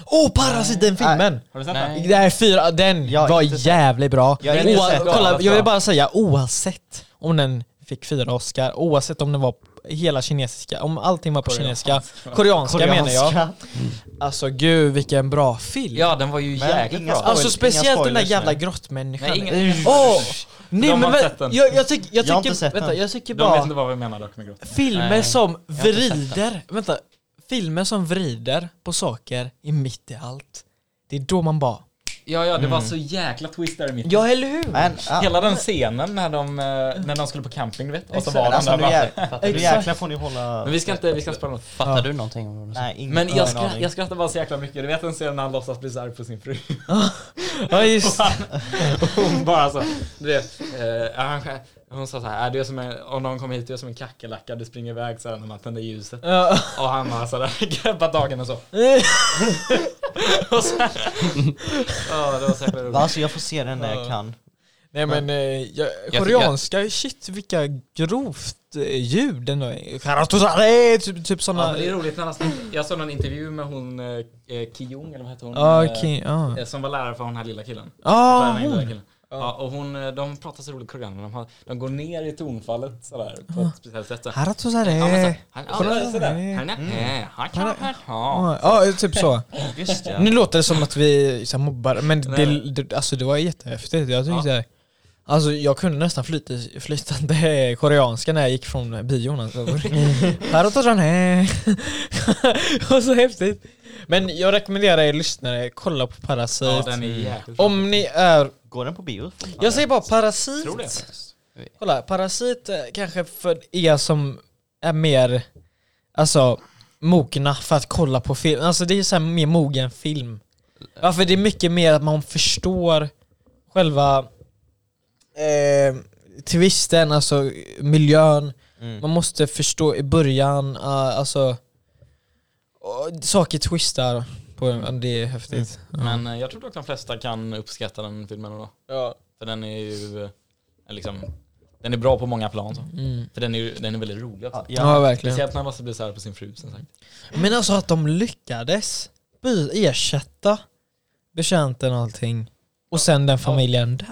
Speaker 1: Åh, oh, Parasit, den filmen!
Speaker 3: Har du sett
Speaker 2: Nej.
Speaker 3: den?
Speaker 1: äh, Det här fyra, den
Speaker 4: Jag har
Speaker 1: var
Speaker 4: inte sett-
Speaker 1: jävligt bra.
Speaker 4: Jag har
Speaker 1: Oa-
Speaker 4: inte sett den.
Speaker 1: kolla,
Speaker 3: Vad
Speaker 1: jag vill
Speaker 3: bra.
Speaker 1: bara säga oavsett om den fick fyra Oscar, oavsett om den var p- hela kinesiska, om allting var på kinesiska, koreanska, menar jag. Alltså gud vilken bra film.
Speaker 3: Ja, den var ju
Speaker 4: Men
Speaker 3: jäkligt
Speaker 4: inga
Speaker 3: bra.
Speaker 4: spoil-
Speaker 1: Alltså speciellt den där
Speaker 4: spoilers
Speaker 1: jävla
Speaker 4: nu.
Speaker 1: grottmänniskan.
Speaker 3: Nej, inga,
Speaker 1: Åh!
Speaker 3: De
Speaker 1: Nej
Speaker 3: har
Speaker 1: men
Speaker 3: inte
Speaker 1: vä-
Speaker 3: sett den.
Speaker 1: jag, jag, tyck, jag
Speaker 4: Jag har
Speaker 1: tycker,
Speaker 4: inte sett
Speaker 1: vänta,
Speaker 4: den.
Speaker 1: jag tycker
Speaker 3: de vet
Speaker 1: bara
Speaker 3: inte vad vi menar dock med grått.
Speaker 1: filmer
Speaker 2: Nej,
Speaker 1: som
Speaker 2: inte sett den.
Speaker 1: vrider, vänta, filmer som vrider på saker i mitt i allt. Det är då man bara...
Speaker 3: Ja, ja, det var så jäkla twist där i mitten.
Speaker 1: Ja eller hur?
Speaker 4: Men, ja,
Speaker 3: Hela den scenen när de, eh, när de skulle på camping, du vet. Och så
Speaker 1: Exakt.
Speaker 3: var de
Speaker 4: alltså,
Speaker 3: där
Speaker 4: nu,
Speaker 3: bara-
Speaker 4: jä- nu
Speaker 1: Exakt.
Speaker 4: jäklar får ni hålla...
Speaker 3: Men vi ska inte, vi ska inte spela något.
Speaker 2: Fattar
Speaker 1: Ja.
Speaker 2: du någonting om vad du
Speaker 4: Nej, ingen
Speaker 3: Men jag,
Speaker 4: ingen
Speaker 3: skra-
Speaker 4: aning.
Speaker 3: jag skrattar bara så jäkla mycket. Du vet en scen när han låtsas bli arg på sin fru.
Speaker 1: Ja just
Speaker 3: Hon bara så, du vet. Eh, han, sk- hon sa så här, "Äh, du är som en, om någon kommer hit, du är som en kackerlacka, du springer iväg så här när man tänder ljuset.
Speaker 1: Ja.
Speaker 3: Och han har sådär greppat dagen och så. Ja, det var så jäkla roligt.
Speaker 4: Alltså jag får se den när jag
Speaker 1: Ja.
Speaker 4: kan.
Speaker 1: Nej men eh, jag,
Speaker 2: jag-
Speaker 1: koreanska, shit vilka grovt eh, ljud den har. Karastosare, typ, typ
Speaker 3: Ja, men
Speaker 1: såna...
Speaker 3: det är roligt när han snackar. Jag såg någon intervju med hon eh, eh, Ki-Jung, eller vad heter hon?
Speaker 1: Ja,
Speaker 3: Eh,
Speaker 1: okej, ja.
Speaker 3: eh, Som var lärare för den här lilla killen.
Speaker 1: Ja,
Speaker 3: Läraren i den här
Speaker 1: hon.
Speaker 3: killen. Ja, och hon, eh, de pratar så roligt i koreaner. De, har- de går ner i tonfallet sådär på ett speciellt sätt. så. Ja, men så-
Speaker 1: Karastosare.
Speaker 3: han- ja, men sådär. Han är- eh, han kan- ja.
Speaker 1: Ja, ja, typ så.
Speaker 4: Just ja.
Speaker 1: Nu låter det som att vi så här, mobbar, men det,
Speaker 3: Nej.
Speaker 1: det, alltså, det var jättehäftigt. Jag tyckte Alltså jag kunde nästan flyt, flytande koreanska när jag gick från bion alltså.
Speaker 3: Mm.
Speaker 1: Här och där, nej. Det var så häftigt. Men jag rekommenderar er lyssnare, kolla på Parasit.
Speaker 3: Ja, den är jäkligt
Speaker 1: Om ni är...
Speaker 4: Går den på bio?
Speaker 1: Jag säger bara
Speaker 3: Jag tror det
Speaker 1: Parasit.
Speaker 3: faktiskt.
Speaker 1: Kolla, Parasit eh, kanske för er som är mer, alltså mogna för att kolla på film. Alltså det är så här mer mogen film. Ja, för det är mycket mer att man förstår själva eh, twisten, alltså miljön.
Speaker 4: Mm.
Speaker 1: Man måste förstå i början, uh, alltså och saker twistar. På, ja, det är häftigt.
Speaker 3: Men eh, jag tror dock de flesta kan uppskatta den filmen då.
Speaker 1: Ja.
Speaker 3: För den är ju eh, liksom, den är bra på många plan. Så.
Speaker 1: Mm.
Speaker 3: För den är, ju- den är väldigt rolig också.
Speaker 4: Ja,
Speaker 1: Ja,
Speaker 4: ja.
Speaker 1: verkligen.
Speaker 3: Speciellt när han måste bli så här på sin fru som sagt.
Speaker 1: Men alltså att de lyckades by- ersätta betjänten och allting och sen den familjen där.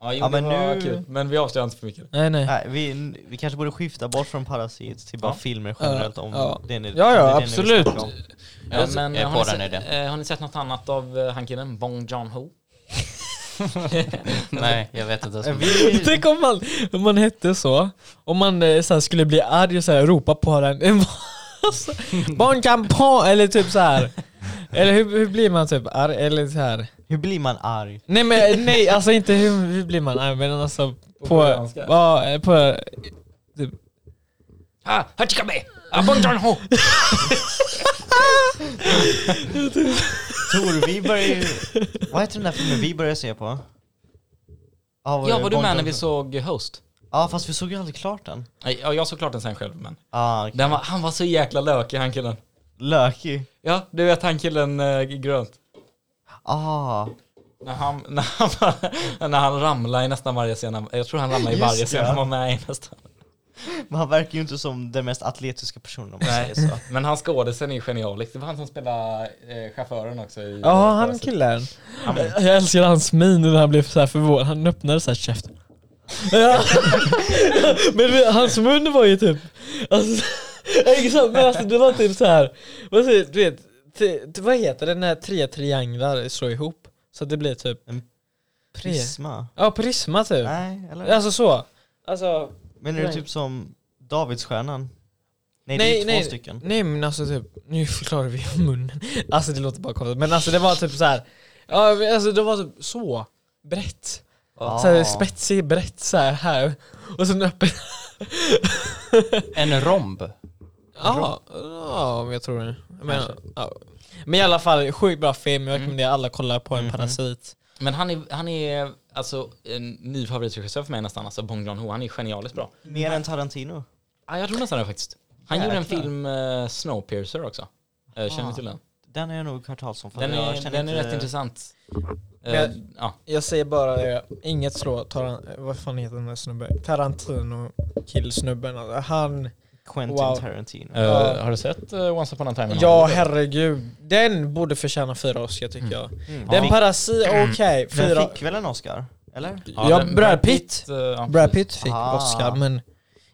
Speaker 3: Ja, jo,
Speaker 4: Ja, men
Speaker 3: det var
Speaker 4: nu-
Speaker 3: kul. Men vi avslöjar inte för mycket.
Speaker 1: Nej nej.
Speaker 4: Nej, vi, vi kanske borde skifta bort från Parasit till bara
Speaker 3: Ja.
Speaker 4: filmer generellt om
Speaker 1: Ja.
Speaker 4: det ni,
Speaker 1: Ja, ja,
Speaker 4: det ni vill
Speaker 1: absolut.
Speaker 4: snacka om.
Speaker 2: Jag är- jag är
Speaker 3: har,
Speaker 2: på
Speaker 3: ni
Speaker 2: den
Speaker 3: sett, eh, har ni sett något annat av eh, han killen, Bong Joon-ho?
Speaker 2: Nej, jag vet inte. ens vad-
Speaker 4: Vi,
Speaker 1: Tänk om man, om man hette så, om man eh, så här, skulle bli arg och så här, ropa på den. Alltså, Bon campon eller typ så här. Eller hur, hur blir man typ arg? Eller så här.
Speaker 4: hur blir man arg?
Speaker 1: Nej men nej, alltså inte hur, hur blir man arg men alltså på... På,
Speaker 3: koreanska.
Speaker 1: ja, eh, på typ,
Speaker 3: Ah, Hachikabe! Ah, Bong Joon-ho!
Speaker 4: Tor, vi börjar ju... Vad heter den där filmen vi började se på? Ah, Ja,
Speaker 3: ja, var du
Speaker 4: Bond-
Speaker 3: med när vi såg Host?
Speaker 4: Ja, fast vi såg ju aldrig klart den.
Speaker 3: Nej, Ja, jag såg klart den sen själv, men
Speaker 4: Ah,
Speaker 3: den var, han var så jäkla lökig, han killen.
Speaker 4: Löki.
Speaker 3: Ja, du vet han killen eh, i grönt.
Speaker 4: Ah,
Speaker 3: När han, när, han, när han ramlade i nästan varje scen. han- Jag tror han ramlade i
Speaker 4: Just
Speaker 3: varje scen
Speaker 4: det.
Speaker 3: han var med i nästan.
Speaker 4: men han verkar ju inte som den mest atletiska personen om man säger
Speaker 3: Nej,
Speaker 4: så.
Speaker 3: Men han skådisen är ju genialisk. Det var han som spelade eh, chauffören också i...
Speaker 1: Ja, han killen. Jag älskar hans min när han blev så här förvånad. Han öppnade så här käften. Ja. men vi- hans mun var ju typ... Alltså, exakt, men alltså det var typ så här. Vad säger, du vet, t- t- vad heter det när tre trianglar slår ihop? Så att det blir typ...
Speaker 4: En
Speaker 1: Tre.
Speaker 4: Prisma?
Speaker 1: Ja, prisma typ.
Speaker 4: Nej, eller?
Speaker 1: Alltså så. Alltså,
Speaker 4: Men är det
Speaker 1: Nej.
Speaker 4: typ som Davidsstjärnan? Nej, det
Speaker 1: Nej,
Speaker 4: är två
Speaker 1: nej.
Speaker 4: stycken.
Speaker 1: nej men alltså typ, nu förklarar vi munnen. Alltså det låter bara konstigt, men alltså det var typ så här. Ja, men alltså det var typ så. Brett.
Speaker 4: Ja.
Speaker 1: Så här, spetsig, brett så här, här. Och sen öppen.
Speaker 2: En romb.
Speaker 1: Ja, ja, men jag tror det. Men, ja. men i alla fall, sjukt bra film. Jag rekommenderar
Speaker 4: Mm.
Speaker 1: alla att kolla på en
Speaker 4: Mm-hmm.
Speaker 1: parasit.
Speaker 3: Men han är, han är alltså en ny favoritregissör för mig nästan, alltså Bong Joon-Ho. Han är genialiskt bra.
Speaker 4: Mer än Tarantino.
Speaker 3: Ja, jag tror nästan det faktiskt. Han gjorde en film, eh, Snowpiercer också. Eh, känner ni till den?
Speaker 4: Den har jag nog hört talas om. för
Speaker 3: Den
Speaker 4: jag
Speaker 3: är,
Speaker 4: känner
Speaker 3: den är
Speaker 4: inte-
Speaker 3: rätt intressant. Eh,
Speaker 1: Jag-
Speaker 3: ja.
Speaker 1: Jag säger bara det, inget slå Taran- vad fan heter den där snubben? Tarantino killsnubben. Alltså, han,
Speaker 4: Quentin
Speaker 1: Wow.
Speaker 4: Tarantino.
Speaker 3: Eh,
Speaker 1: Ja.
Speaker 3: Har du sett eh, Once upon a time? in
Speaker 1: ja
Speaker 3: Hollywood?
Speaker 1: herregud. Den borde förtjäna fyra Oscar tycker jag.
Speaker 4: Mm.
Speaker 1: Den
Speaker 4: Den,
Speaker 1: parasit, okej.
Speaker 4: den
Speaker 1: fyra.
Speaker 4: fick väl en Oscar? Eller?
Speaker 1: Ja,
Speaker 3: den-
Speaker 1: Brad Pitt.
Speaker 3: eh, ja,
Speaker 1: Brad Pitt fick
Speaker 4: Ah.
Speaker 1: Oscar men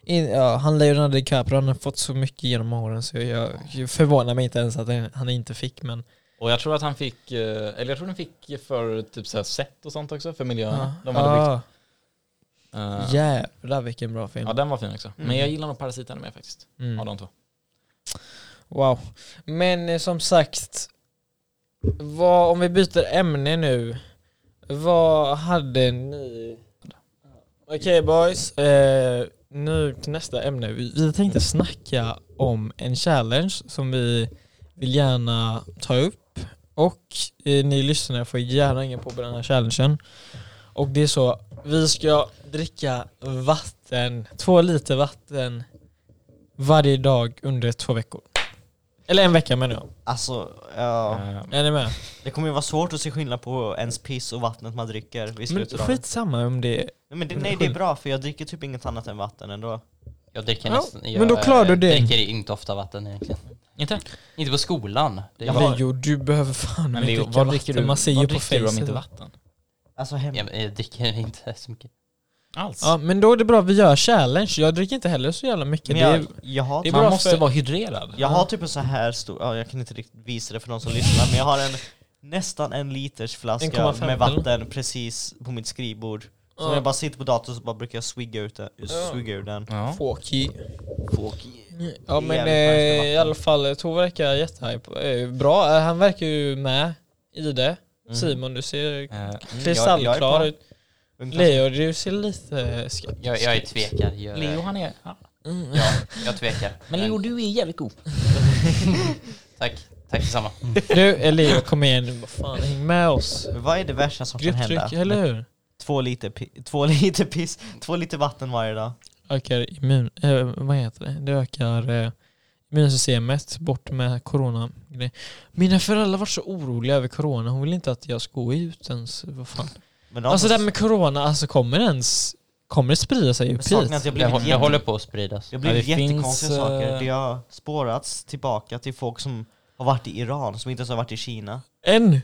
Speaker 1: in, ja, han Leonardo DiCaprio han har fått så mycket genom åren så jag, jag förvånar mig inte ens att han- han inte fick men
Speaker 3: Och jag tror att han fick, eh, eller jag tror den fick för typ såhär set och sånt också, för miljön.
Speaker 1: ja.
Speaker 3: De hade byggt.
Speaker 1: Ah,
Speaker 3: Eh,
Speaker 1: jävlar vilken bra film.
Speaker 3: Ja, den var fin också. Men jag gillar nog Parasiten mer faktiskt,
Speaker 1: Mm.
Speaker 3: av de två.
Speaker 1: Wow. Men eh, som sagt, vad, om vi byter ämne nu. Vad hade ni? Okej boys, eh, nu till nästa ämne. Vi, vi tänkte snacka om en challenge som vi vill gärna ta upp. Och eh, ni lyssnare får gärna hänga på på den här challengen. Och det är så, vi ska dricka vatten, två liter vatten varje dag under två veckor. Eller en vecka menar jag.
Speaker 4: Alltså, ja.
Speaker 3: Eh,
Speaker 1: Är ni med?
Speaker 4: Det kommer ju vara svårt att se skillnad på ens piss och vattnet man dricker vid
Speaker 1: Men
Speaker 4: slutet av det.
Speaker 1: skitsamma om det är...
Speaker 4: Nej, Men det, nej, det är bra för jag dricker typ inget annat än vatten ändå.
Speaker 2: Jag dricker
Speaker 1: Ja,
Speaker 2: nästan...
Speaker 1: men
Speaker 2: jag,
Speaker 1: då klarar du
Speaker 2: eh,
Speaker 1: det.
Speaker 2: dricker inte ofta vatten egentligen.
Speaker 3: Inte?
Speaker 2: Inte på skolan. Det är bara,
Speaker 1: Leo, du behöver fan
Speaker 3: Men
Speaker 1: inte
Speaker 3: Leo,
Speaker 1: dricka
Speaker 3: vad dricker
Speaker 1: vatten.
Speaker 3: du,
Speaker 1: Man ser ju
Speaker 3: vad
Speaker 1: på
Speaker 3: dricker du om
Speaker 1: facet.
Speaker 3: inte vatten?
Speaker 4: Alltså hem...
Speaker 2: jag, jag dricker inte så mycket.
Speaker 3: Alls.
Speaker 1: Ja, men då är det bra. Vi gör challenge. Jag dricker inte heller så jävla mycket.
Speaker 4: Men
Speaker 1: Det är,
Speaker 4: jag, jag, har,
Speaker 1: det är
Speaker 4: typ-
Speaker 1: bra
Speaker 3: Man måste
Speaker 1: för-
Speaker 3: vara hydrerad.
Speaker 4: jag har typ en så här stor, ja, jag kan inte riktigt visa det för någon som lyssnar, men jag har en nästan en liters flaska
Speaker 1: 1,5
Speaker 4: med
Speaker 1: eller?
Speaker 4: vatten precis på mitt skrivbord. Så
Speaker 1: Ja.
Speaker 4: när jag bara sitter på datorn så bara brukar jag swigga ut den. Swigga ur den.
Speaker 3: Ja.
Speaker 1: Fåky.
Speaker 4: Fuck.
Speaker 1: Ja
Speaker 4: Det är
Speaker 1: men
Speaker 4: jävligt nice med
Speaker 1: eh,
Speaker 4: vatten.
Speaker 1: i alla fall, Tove verkar jättehype. Eh, Bra, Eh, han verkar ju med i det. Simon, du ser
Speaker 3: Eh,
Speaker 4: Mm. jag är
Speaker 1: kristallklar
Speaker 4: på.
Speaker 1: ut.
Speaker 4: Ungefär
Speaker 1: Leo, du ser lite skeptisk Mm.
Speaker 2: Jag, jag är tvekar. Jag,
Speaker 3: Leo han är... ja.
Speaker 2: Ja, jag tvekar.
Speaker 3: Men Leo du är jävligt god.
Speaker 2: Tack. Tack detsamma.
Speaker 1: Du, eh, Leo kom igen nu. Vad fan, häng med oss.
Speaker 4: Men Vad är det värsta som kan
Speaker 1: Grupptryck,
Speaker 4: hända?
Speaker 1: eller hur?
Speaker 4: Två liter, pi- två liter piss, två liter vatten varje dag.
Speaker 1: ökar immun... Eh, vad heter det? Det ökar eh, immunsystemet bort med corona. Mina föräldrar var så oroliga över corona. Hon ville inte att jag skulle gå ut ens. Vad fan.
Speaker 4: Men
Speaker 1: Alltså det här med corona, alltså kommer det ens... Kommer det sprida sig upp
Speaker 4: saken är att
Speaker 1: hit?
Speaker 4: jag
Speaker 2: Det,
Speaker 4: blivit
Speaker 2: hå- det
Speaker 4: jätte-
Speaker 2: håller på att spridas.
Speaker 4: Det har
Speaker 3: Ja,
Speaker 4: blivit
Speaker 3: det finns,
Speaker 4: jättekonstiga saker.
Speaker 3: eh,
Speaker 4: Det har spårats tillbaka till folk som har varit i Iran, som inte ens har varit i Kina.
Speaker 1: En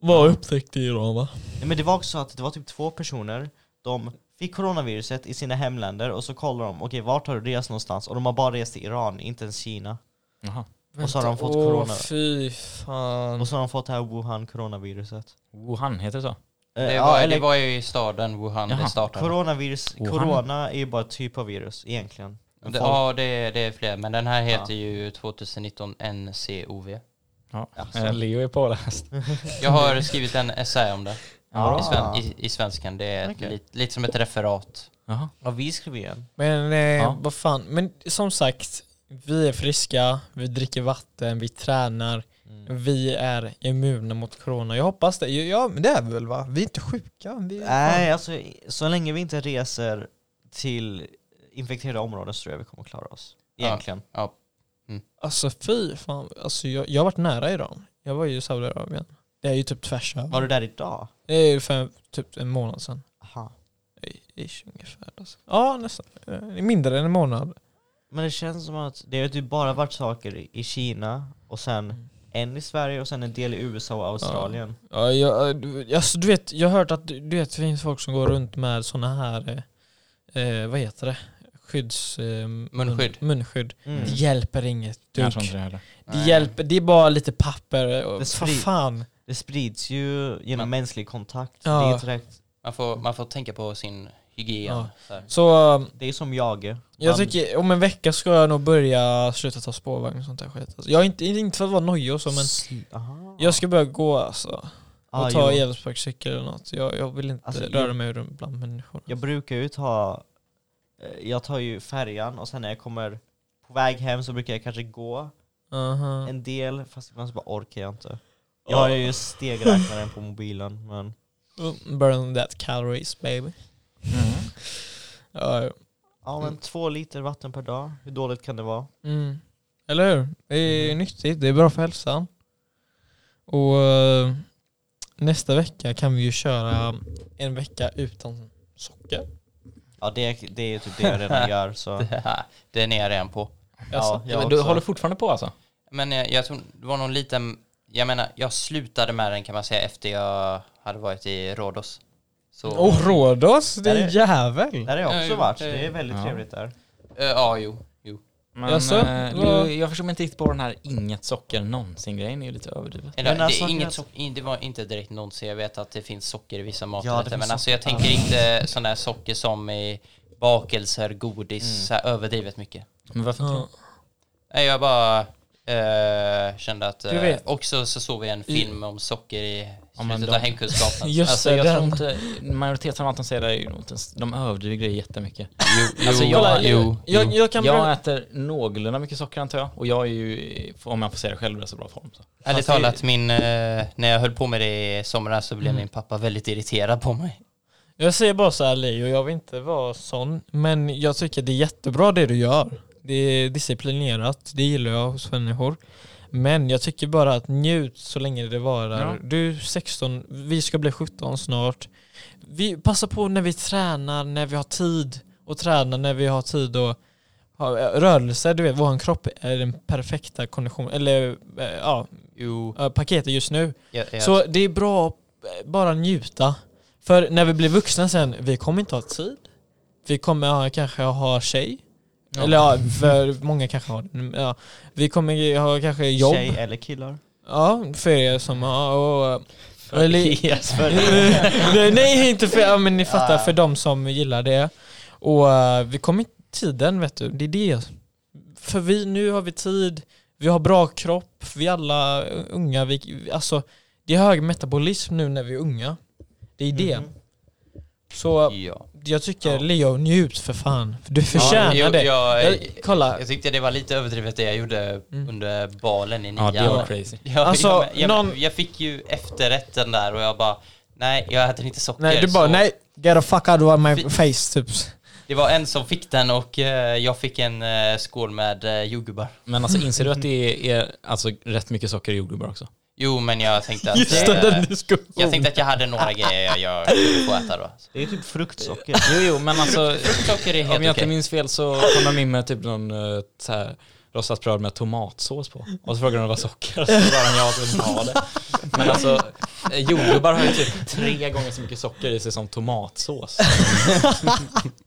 Speaker 1: var upptäckt i Iran va?
Speaker 4: Nej, men det var också så att det var typ två personer, de fick coronaviruset i sina hemländer och så kollar de, okej vart har du rest någonstans? Och de har bara rest till Iran, inte ens Kina.
Speaker 3: Jaha.
Speaker 4: Och så har de fått
Speaker 1: Åh,
Speaker 4: corona.
Speaker 1: fy fan.
Speaker 3: Mm.
Speaker 4: Och så har de fått det här Wuhan-coronaviruset.
Speaker 3: Wuhan, heter det så?
Speaker 4: Eh,
Speaker 2: Det
Speaker 4: ja,
Speaker 2: var,
Speaker 4: eller
Speaker 2: det var ju i staden Wuhan
Speaker 3: Jaha,
Speaker 2: det startade.
Speaker 4: coronavirus,
Speaker 3: Wuhan.
Speaker 4: corona är ju bara ett typ av virus egentligen. Men
Speaker 2: Det,
Speaker 4: folk-
Speaker 2: ja, det, det är fler. Men den här heter ju 2019 NCOV.
Speaker 3: Ja.
Speaker 4: Alltså.
Speaker 3: Eh, Leo är påläst.
Speaker 2: Jag har skrivit en essä om det i, sven,
Speaker 4: Ah.
Speaker 2: i, i svenskan. Det är
Speaker 4: Okej.
Speaker 2: lite, lite som ett referat.
Speaker 3: Jaha.
Speaker 4: Ja, vi skrev igen.
Speaker 1: Men eh,
Speaker 3: Ja.
Speaker 1: vad fan. Men som sagt, vi är friska, vi dricker vatten, vi tränar.
Speaker 3: Mm.
Speaker 4: Mm.
Speaker 1: Vi är immuna mot corona. Jag hoppas det. Ja, men det är vi väl va? Vi är inte sjuka. Vi är
Speaker 4: Nej, alltså i- så länge vi inte reser till infekterade områden så tror jag vi kommer klara oss.
Speaker 2: Ja.
Speaker 4: Egentligen.
Speaker 2: Ja.
Speaker 1: Alltså fy fan. Alltså, jag, jag har varit nära Iran. Jag var ju i Saudiarabien. Det är ju typ tvärs över.
Speaker 4: Var du där idag?
Speaker 1: Det är ju för typ en månad sedan.
Speaker 4: Aha.
Speaker 1: Ish, ungefär. Alltså. Ja, nästan. Eh, Mindre än en månad.
Speaker 4: Men det känns som att det har typ bara varit saker i- i Kina och sen
Speaker 1: Mm.
Speaker 4: en i Sverige och sen en del i USA och Australien.
Speaker 1: Ja, jag, du- alltså, du vet, jag har hört att du du vet, det finns folk som går runt med såna här, eh, eh, vad heter det? skydds... Eh,
Speaker 2: Munskydd.
Speaker 1: munskydd.
Speaker 4: Mm.
Speaker 1: Det hjälper inget
Speaker 3: Jag
Speaker 1: dugg.
Speaker 3: tror inte det heller.
Speaker 1: Det hjälper, det är bara lite papper. och-
Speaker 4: Det
Speaker 1: Vad
Speaker 4: sprid-
Speaker 1: fan.
Speaker 4: Det sprids ju
Speaker 2: Men-
Speaker 4: genom mänsklig kontakt.
Speaker 1: Ja.
Speaker 4: Det, är inte direkt,
Speaker 2: Man får, man får tänka på sin hygien.
Speaker 1: Ja.
Speaker 2: Så här.
Speaker 1: Så eh,
Speaker 4: det är som jage.
Speaker 1: jag
Speaker 4: Man-
Speaker 1: tycker, om en vecka ska jag nog börja sluta ta spårvagn och sånt där skit. Alltså, jag är inte, inte för att vara nojig och så men
Speaker 4: Aha.
Speaker 1: jag ska börja gå alltså. Och
Speaker 4: Ah,
Speaker 1: ta
Speaker 4: jo.
Speaker 1: elsparkcykel eller något. Jag, jag vill inte
Speaker 4: Alltså,
Speaker 1: röra
Speaker 4: jag-
Speaker 1: mig runt bland människor.
Speaker 4: Jag brukar ju ta, eh, jag tar ju färjan och sen när jag kommer på väg hem så brukar jag kanske gå
Speaker 1: Aha.
Speaker 4: en del, fast ibland så bara orkar jag inte. Jag har ju stegräknaren på mobilen, men
Speaker 1: Oh, Burn that calories baby.
Speaker 3: Mm.
Speaker 1: Ja,
Speaker 4: ja men två liter vatten per dag, hur dåligt kan det vara?
Speaker 1: Mm. Eller hur? Det är
Speaker 4: Mm.
Speaker 1: nyttigt, det är bra för hälsan. Och eh, nästa vecka kan vi ju köra en vecka utan socker.
Speaker 4: Ja det, är- det är ju typ det jag redan gör så.
Speaker 2: Den är jag redan på.
Speaker 1: Alltså,
Speaker 4: jag
Speaker 3: men du
Speaker 4: också.
Speaker 3: håller fortfarande på alltså?
Speaker 2: Men eh, jag, jag tror det var någon liten, jag menar jag slutade med den kan man säga efter jag hade varit i Rhodos. Så,
Speaker 1: Och Rhodos, det är en jävel!
Speaker 4: Där har jag
Speaker 2: Ja,
Speaker 4: också
Speaker 2: jo,
Speaker 4: varit,
Speaker 2: det-
Speaker 4: det är väldigt
Speaker 3: ja.
Speaker 4: trevligt där.
Speaker 2: Eh, ja, jo, jo.
Speaker 3: Men,
Speaker 1: Jaså?
Speaker 3: eh,
Speaker 1: Vad-
Speaker 3: du, jag förstår mig inte riktigt på den här inget socker någonsin-grejen, det är ju lite överdrivet.
Speaker 2: Eller,
Speaker 4: Men
Speaker 2: det,
Speaker 4: alltså,
Speaker 2: är inget
Speaker 4: jag-
Speaker 2: sock, in- det var inte direkt någonsin, jag vet att det finns socker i vissa
Speaker 4: Ja,
Speaker 2: maträtter.
Speaker 4: det finns
Speaker 2: men alltså jag
Speaker 4: socker.
Speaker 2: tänker inte sån där socker som i bakelser, godis, så här, överdrivet mycket.
Speaker 3: Men varför inte?
Speaker 1: Ja.
Speaker 2: Nej, jag bara eh, kände att...
Speaker 1: Du vet.
Speaker 2: Eh, också så såg vi en film om socker i
Speaker 3: Ja, men
Speaker 2: slutet
Speaker 3: de-
Speaker 2: av hemkunskapen.
Speaker 1: Just
Speaker 3: Alltså
Speaker 1: det,
Speaker 3: jag
Speaker 1: den.
Speaker 3: tror inte, majoriteten av allt de säger är ju inte ens, de överdriver grejer jättemycket.
Speaker 2: jo,
Speaker 3: Alltså, jag-
Speaker 2: kolla,
Speaker 3: jo.
Speaker 1: Jag, jag kan
Speaker 3: jag
Speaker 1: bra-
Speaker 3: äter någorlunda mycket socker antar jag, och jag är ju, om jag får säga det själv, i så bra form. Så.
Speaker 2: Ärligt
Speaker 3: Fast det-
Speaker 2: talat, min, eh, när jag höll på med det i somras så
Speaker 1: Mm.
Speaker 2: blev min pappa väldigt irriterad på mig.
Speaker 1: jag säger bara så här Leo, jag vill inte vara sån, men jag tycker det är jättebra det du gör. Det är disciplinerat, det gillar jag hos människor. Men jag tycker bara att njut så länge det varar.
Speaker 3: Ja.
Speaker 1: Du är 16, vi ska bli 17 snart. Vi Passa på när vi tränar, när vi har tid och träna när vi har tid och ha eh, rörelse. Du vet, vår kropp är den perfekta kondition, eller eh, ja,
Speaker 2: Jo.
Speaker 1: eh, paketet just nu.
Speaker 2: Jag, jag,
Speaker 1: Så det är bra att eh, bara njuta. För när vi blir vuxna sen, vi kommer inte ha tid. Vi kommer ha, kanske ha tjej.
Speaker 3: Ja.
Speaker 1: Eller ja, för många kanske har det. ja. Vi kommer ha kanske jobb.
Speaker 4: Tjej eller killar.
Speaker 1: Ja, för er som har... Och, eller,
Speaker 4: För-
Speaker 1: nej, nej, inte för... Ja, men ni fattar,
Speaker 2: Ah.
Speaker 4: Ja.
Speaker 1: för de som gillar det. Och eh, vi kommer inte... Tiden, vet du, det är det. För vi, nu har vi tid, vi har bra kropp, vi alla unga, vi, alltså det är hög metabolism nu när vi är unga. Det är det.
Speaker 4: Mhm.
Speaker 1: Så
Speaker 2: ja.
Speaker 1: jag tycker
Speaker 2: Mm. Ja.
Speaker 1: Leo, njut för fan. För du förtjänar
Speaker 2: jag,
Speaker 1: det.
Speaker 2: Jag,
Speaker 1: Jag, kolla,
Speaker 2: jag tyckte det var lite överdrivet det jag gjorde
Speaker 1: Mm.
Speaker 2: under balen i
Speaker 3: Ja,
Speaker 2: nian.
Speaker 3: det var crazy.
Speaker 2: Ja,
Speaker 1: Alltså,
Speaker 2: jag, jag,
Speaker 1: någon-
Speaker 2: jag fick ju efterrätten där och jag bara Nej, jag äter inte socker.
Speaker 1: nej, du bara
Speaker 2: så
Speaker 1: nej, get the fuck out of my
Speaker 2: Fi-
Speaker 1: face typ.
Speaker 2: Det var en som fick den och eh, jag fick en eh, skål med eh, jordgubbar.
Speaker 3: Men alltså inser du att det är alltså, rätt mycket socker i jordgubbar också?
Speaker 2: Jo, men jag tänkte att...
Speaker 1: Just
Speaker 2: eh,
Speaker 1: den diskussionen.
Speaker 2: jag tänkte att jag hade några grejer jag kunde få äta då.
Speaker 4: Det är typ fruktsocker.
Speaker 3: Jo, jo, men alltså
Speaker 2: Socker är
Speaker 3: om jag
Speaker 2: helt
Speaker 3: inte
Speaker 2: okej.
Speaker 3: minns fel så kom de in med typ någon eh, så här, rostat bröd med tomatsås på. Och så frågade de vad socker och så svarade de ja, att de inte ha det. Men alltså eh, jordgubbar har ju typ tre gånger så mycket socker i sig som tomatsås.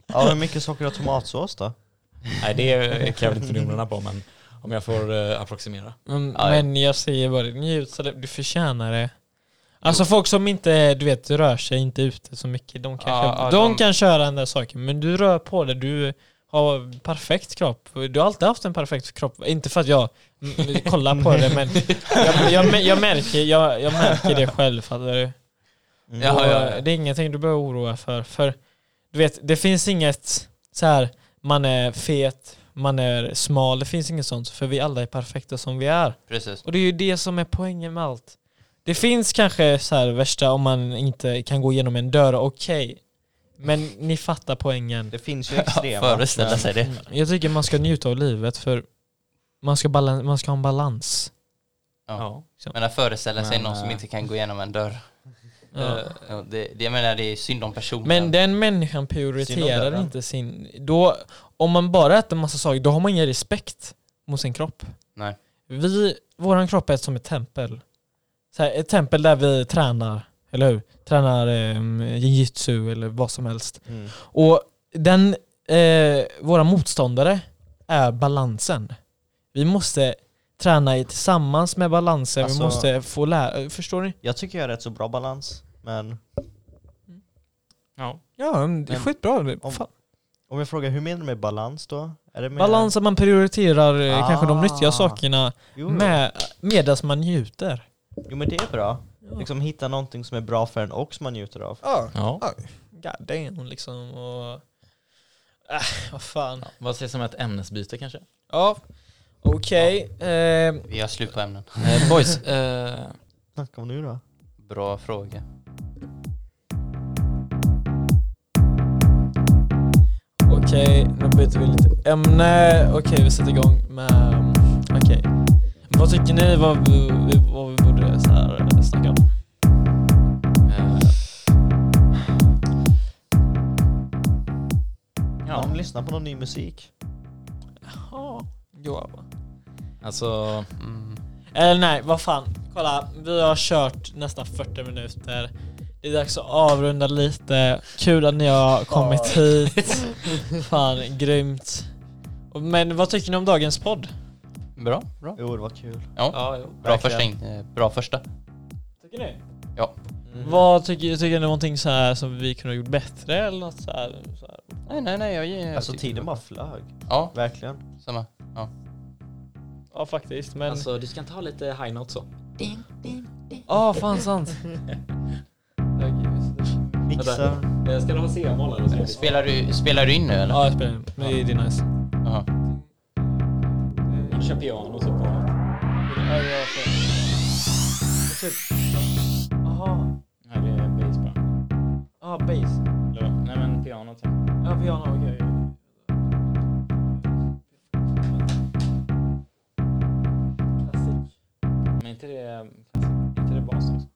Speaker 4: Ja, hur mycket socker och tomatsås då?
Speaker 3: Nej, det kan jag väl inte numren på, men om jag får eh, approximera.
Speaker 1: Mm,
Speaker 2: Ja, ja.
Speaker 1: men jag säger bara, njut så det- du förtjänar det. Alltså folk som inte, du vet, rör sig inte ute så mycket, de, kanske,
Speaker 2: Ja, ja,
Speaker 1: de,
Speaker 2: de-
Speaker 1: kan köra den där saken. Men du rör på dig, du har perfekt kropp. Du har alltid haft en perfekt kropp. Inte för att jag mm, kollar på det, men jag, jag, mä- jag, märker, jag, jag märker det själv, fattar du?
Speaker 4: Mm.
Speaker 2: Ja,
Speaker 1: Och,
Speaker 2: ja,
Speaker 1: eh, Det är ingenting du behöver oroa dig för. För du vet, det finns inget så här man är fet, man är smal, det finns inget sånt. För vi alla är perfekta som vi är.
Speaker 2: Precis.
Speaker 1: Och det är ju det som är poängen med allt. Det finns kanske så här värsta om man inte kan gå igenom en dörr, okej. Men ni fattar poängen.
Speaker 4: Det finns ju extrema.
Speaker 2: Föreställa sig det.
Speaker 1: Jag tycker man ska njuta av livet för man ska, balan- man ska ha en balans.
Speaker 3: Ja.
Speaker 2: Men att föreställa sig
Speaker 3: Men,
Speaker 2: någon
Speaker 3: eh,
Speaker 2: som inte kan gå igenom en dörr. Eh,
Speaker 1: Ja.
Speaker 2: Ja, Det, det, jag menar, det är synd om personen.
Speaker 1: Men den människan
Speaker 3: Synd om
Speaker 1: prioriterar
Speaker 3: dörren.
Speaker 1: inte sin... Då, om man bara äter massa saker, då har man ingen respekt mot sin kropp.
Speaker 2: Nej.
Speaker 1: Vi, våran kropp är som ett tempel. Så här, ett tempel där vi tränar, ehm, eller hur? Tränar eh, jitsu eller vad som helst.
Speaker 4: Mm.
Speaker 1: Och den eh, våra motståndare är balansen. Vi måste träna i tillsammans med balansen,
Speaker 4: Alltså-
Speaker 1: vi måste få lära... Förstår ni?
Speaker 4: Jag tycker jag har rätt så bra balans, men
Speaker 3: Ja.
Speaker 1: Ja, det är
Speaker 4: Men-
Speaker 1: skitbra.
Speaker 4: Om-
Speaker 1: Fan.
Speaker 4: om jag frågar hur menar du med balans då? Är det med
Speaker 1: Balans att man prioriterar eh, kanske de
Speaker 4: Ah.
Speaker 1: nyttiga sakerna
Speaker 4: Jo,
Speaker 1: med, medan man njuter.
Speaker 4: jo men det är bra. Liksom hitta någonting som är bra för en och som man njuter av.
Speaker 1: Ja.
Speaker 3: ja.
Speaker 1: God damn, liksom. Och... Äh, vad fan.
Speaker 3: Vad sägs om ett ämnesbyte kanske?
Speaker 1: Ja, okej. Eh,
Speaker 2: Vi har slut på ämnen.
Speaker 3: Eh, boys, eh,
Speaker 4: Snacka om nu då.
Speaker 2: Bra fråga.
Speaker 1: Okej, nu byter vi lite ämne. Okej, vi sätter igång med... Okej. Vad tycker ni vad vi, vad vi borde så här snacka om?
Speaker 3: eh,
Speaker 4: Ja. Någon lyssnar på någon ny musik.
Speaker 1: Ja, Joab.
Speaker 3: alltså...
Speaker 2: Mm.
Speaker 1: Eller nej, vad fan. Kolla, vi har kört nästan 40 minuter. Det är dags att avrunda lite. Kul att ni har kommit hit. Fan, grymt. Men vad tycker ni om dagens podd?
Speaker 2: Bra, bra.
Speaker 4: Jo det var kul.
Speaker 1: Ja, jo.
Speaker 2: Bra
Speaker 4: Verkligen.
Speaker 2: första, in- eh, bra första.
Speaker 1: Tycker ni?
Speaker 4: Mm.
Speaker 1: Vad tycker, tycker ni någonting så här som vi kunde ha gjort bättre eller något så här? Så här?
Speaker 2: Nej, nej, nej. Jag, jag,
Speaker 4: Alltså tiden bara flög.
Speaker 2: Ja,
Speaker 4: Verkligen.
Speaker 2: samma.
Speaker 1: Ja faktiskt, men...
Speaker 3: Alltså du ska ta lite high notes så.
Speaker 1: Ja, fan sant.
Speaker 4: Mixa.
Speaker 3: Eh, ska du ha C-moll eller så?
Speaker 2: Spelar du, spelar du in nu eller?
Speaker 1: Ja, jag spelar in. Men det är nice.
Speaker 2: Jaha.
Speaker 3: Kör piano så på
Speaker 1: typ. Jaha.
Speaker 3: Nej, det är bass bara.
Speaker 1: Ja, bass.
Speaker 3: Eller vad? Nej, men pianot. ja.
Speaker 1: Ja, piano, okej. Klassik.
Speaker 3: Men inte det... Inte det bas också.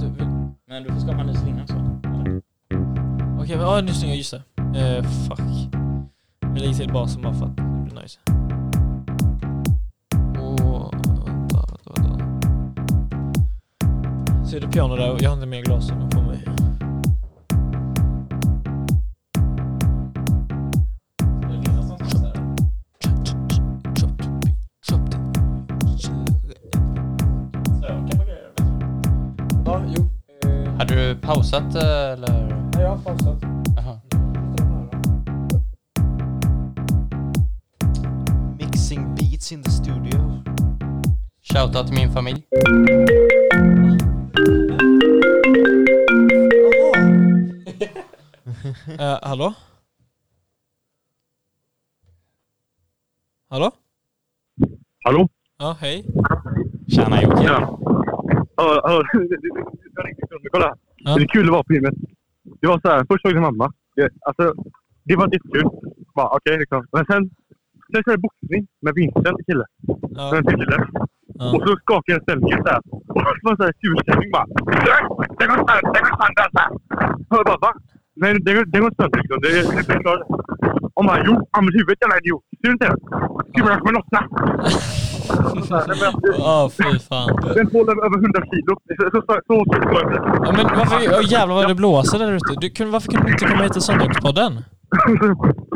Speaker 1: Du, vill-
Speaker 3: Men du får skapa en ny slinga också. Eller?
Speaker 1: Okej, men ja, nu snyggt. Just det. Eh, fuck. Vi lägger till basen bara för att det blir nice. Och... Vänta, vänta, vänta. Ser du piano där? Jag har inte mer glasögon på mig. Ja, jo.
Speaker 2: Hade du pausat eh, eller?
Speaker 1: Nej, jag har pausat.
Speaker 2: Jaha.
Speaker 4: Mixing beats in the studio.
Speaker 2: Shoutout till min familj.
Speaker 1: Eh, hallå? Hallå?
Speaker 5: Hallå?
Speaker 1: Ja, hej.
Speaker 3: Tjena Jocke.
Speaker 5: Ja. Ja, ja, det- det- det- det var riktigt kul. Kolla.
Speaker 1: Ja.
Speaker 5: Det är kul att vara på gymmet. Det var så här, först såg jag mamma. Det, alltså, det var jättekul. Bara okej liksom. Men sen, sen körde jag boxning med Vincent, en kille.
Speaker 1: Ja,
Speaker 5: Med en kille. Och
Speaker 1: ja.
Speaker 5: så skakade stämningen så här. Och så var det så här tjurstämning bara. Den går sönder, den går sönder! så här. Och jag bara va? Nej, den går- den går inte sönder liksom. Det är det är klart. Och man jo, använd huvudet jävla idiot. Ser du inte det? Gud vad jag kommer lossna!
Speaker 1: Ja, fy fan.
Speaker 5: Den tål över 100 kilo. Så- Så så- så stor var den.
Speaker 1: Ja, men varför, ja, jävlar vad det blåser där ute. Du, kunde, varför kunde du inte komma hit till Söndagspodden?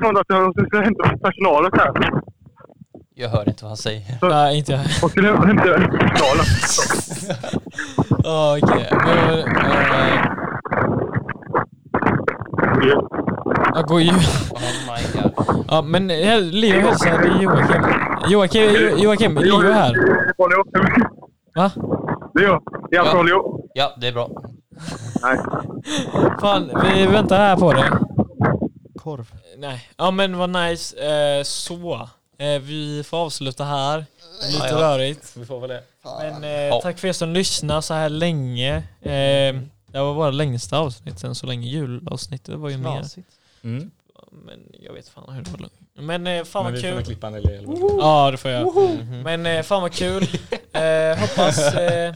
Speaker 5: Sånt att jag skulle hämta personalen så här.
Speaker 2: Jag hör inte vad han säger.
Speaker 1: Nej, inte jag.
Speaker 5: Och skulle hämta personalen.
Speaker 1: Ja, Okej. Men, eh, Jag går ju...
Speaker 2: Oh my god.
Speaker 1: Ja, men eh, Leo hälsar. Det är Joakim. Joakim, Joakim, Leo är här.
Speaker 5: Leo.
Speaker 1: Va?
Speaker 5: Leo. Jag från Leo.
Speaker 2: Ja, det är bra.
Speaker 5: Nej.
Speaker 1: Fan, vi väntar här på dig.
Speaker 4: Korv.
Speaker 1: Nej. Ja men vad nice. Eh, så. Eh, vi får avsluta här. Det är Lite
Speaker 2: Ja, ja.
Speaker 1: rörigt.
Speaker 3: Vi får väl det.
Speaker 1: Men eh, tack för er som lyssnar så här länge. Eh,
Speaker 3: Mm.
Speaker 1: det var våra längsta avsnitt sen så länge julavsnittet var ju mer.
Speaker 4: Knasigt.
Speaker 3: Mm.
Speaker 1: Men jag vet fan hur det var långt. Men eh, fan
Speaker 3: Men
Speaker 1: vad
Speaker 3: vi får väl
Speaker 1: kul.
Speaker 3: klippa en eller eller
Speaker 1: Ja det får jag. Men eh, fan vad kul. eh, hoppas eh,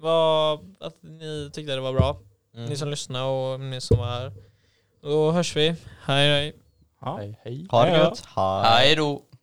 Speaker 1: vad, att ni tyckte det var bra.
Speaker 3: Mm.
Speaker 1: Ni som lyssnade och ni som var här. Då hörs vi. Hej hej.
Speaker 3: Ja.
Speaker 2: Hej, hej.
Speaker 4: Ha det
Speaker 1: Ja, ja.
Speaker 4: gött. Hej.
Speaker 2: Hej då.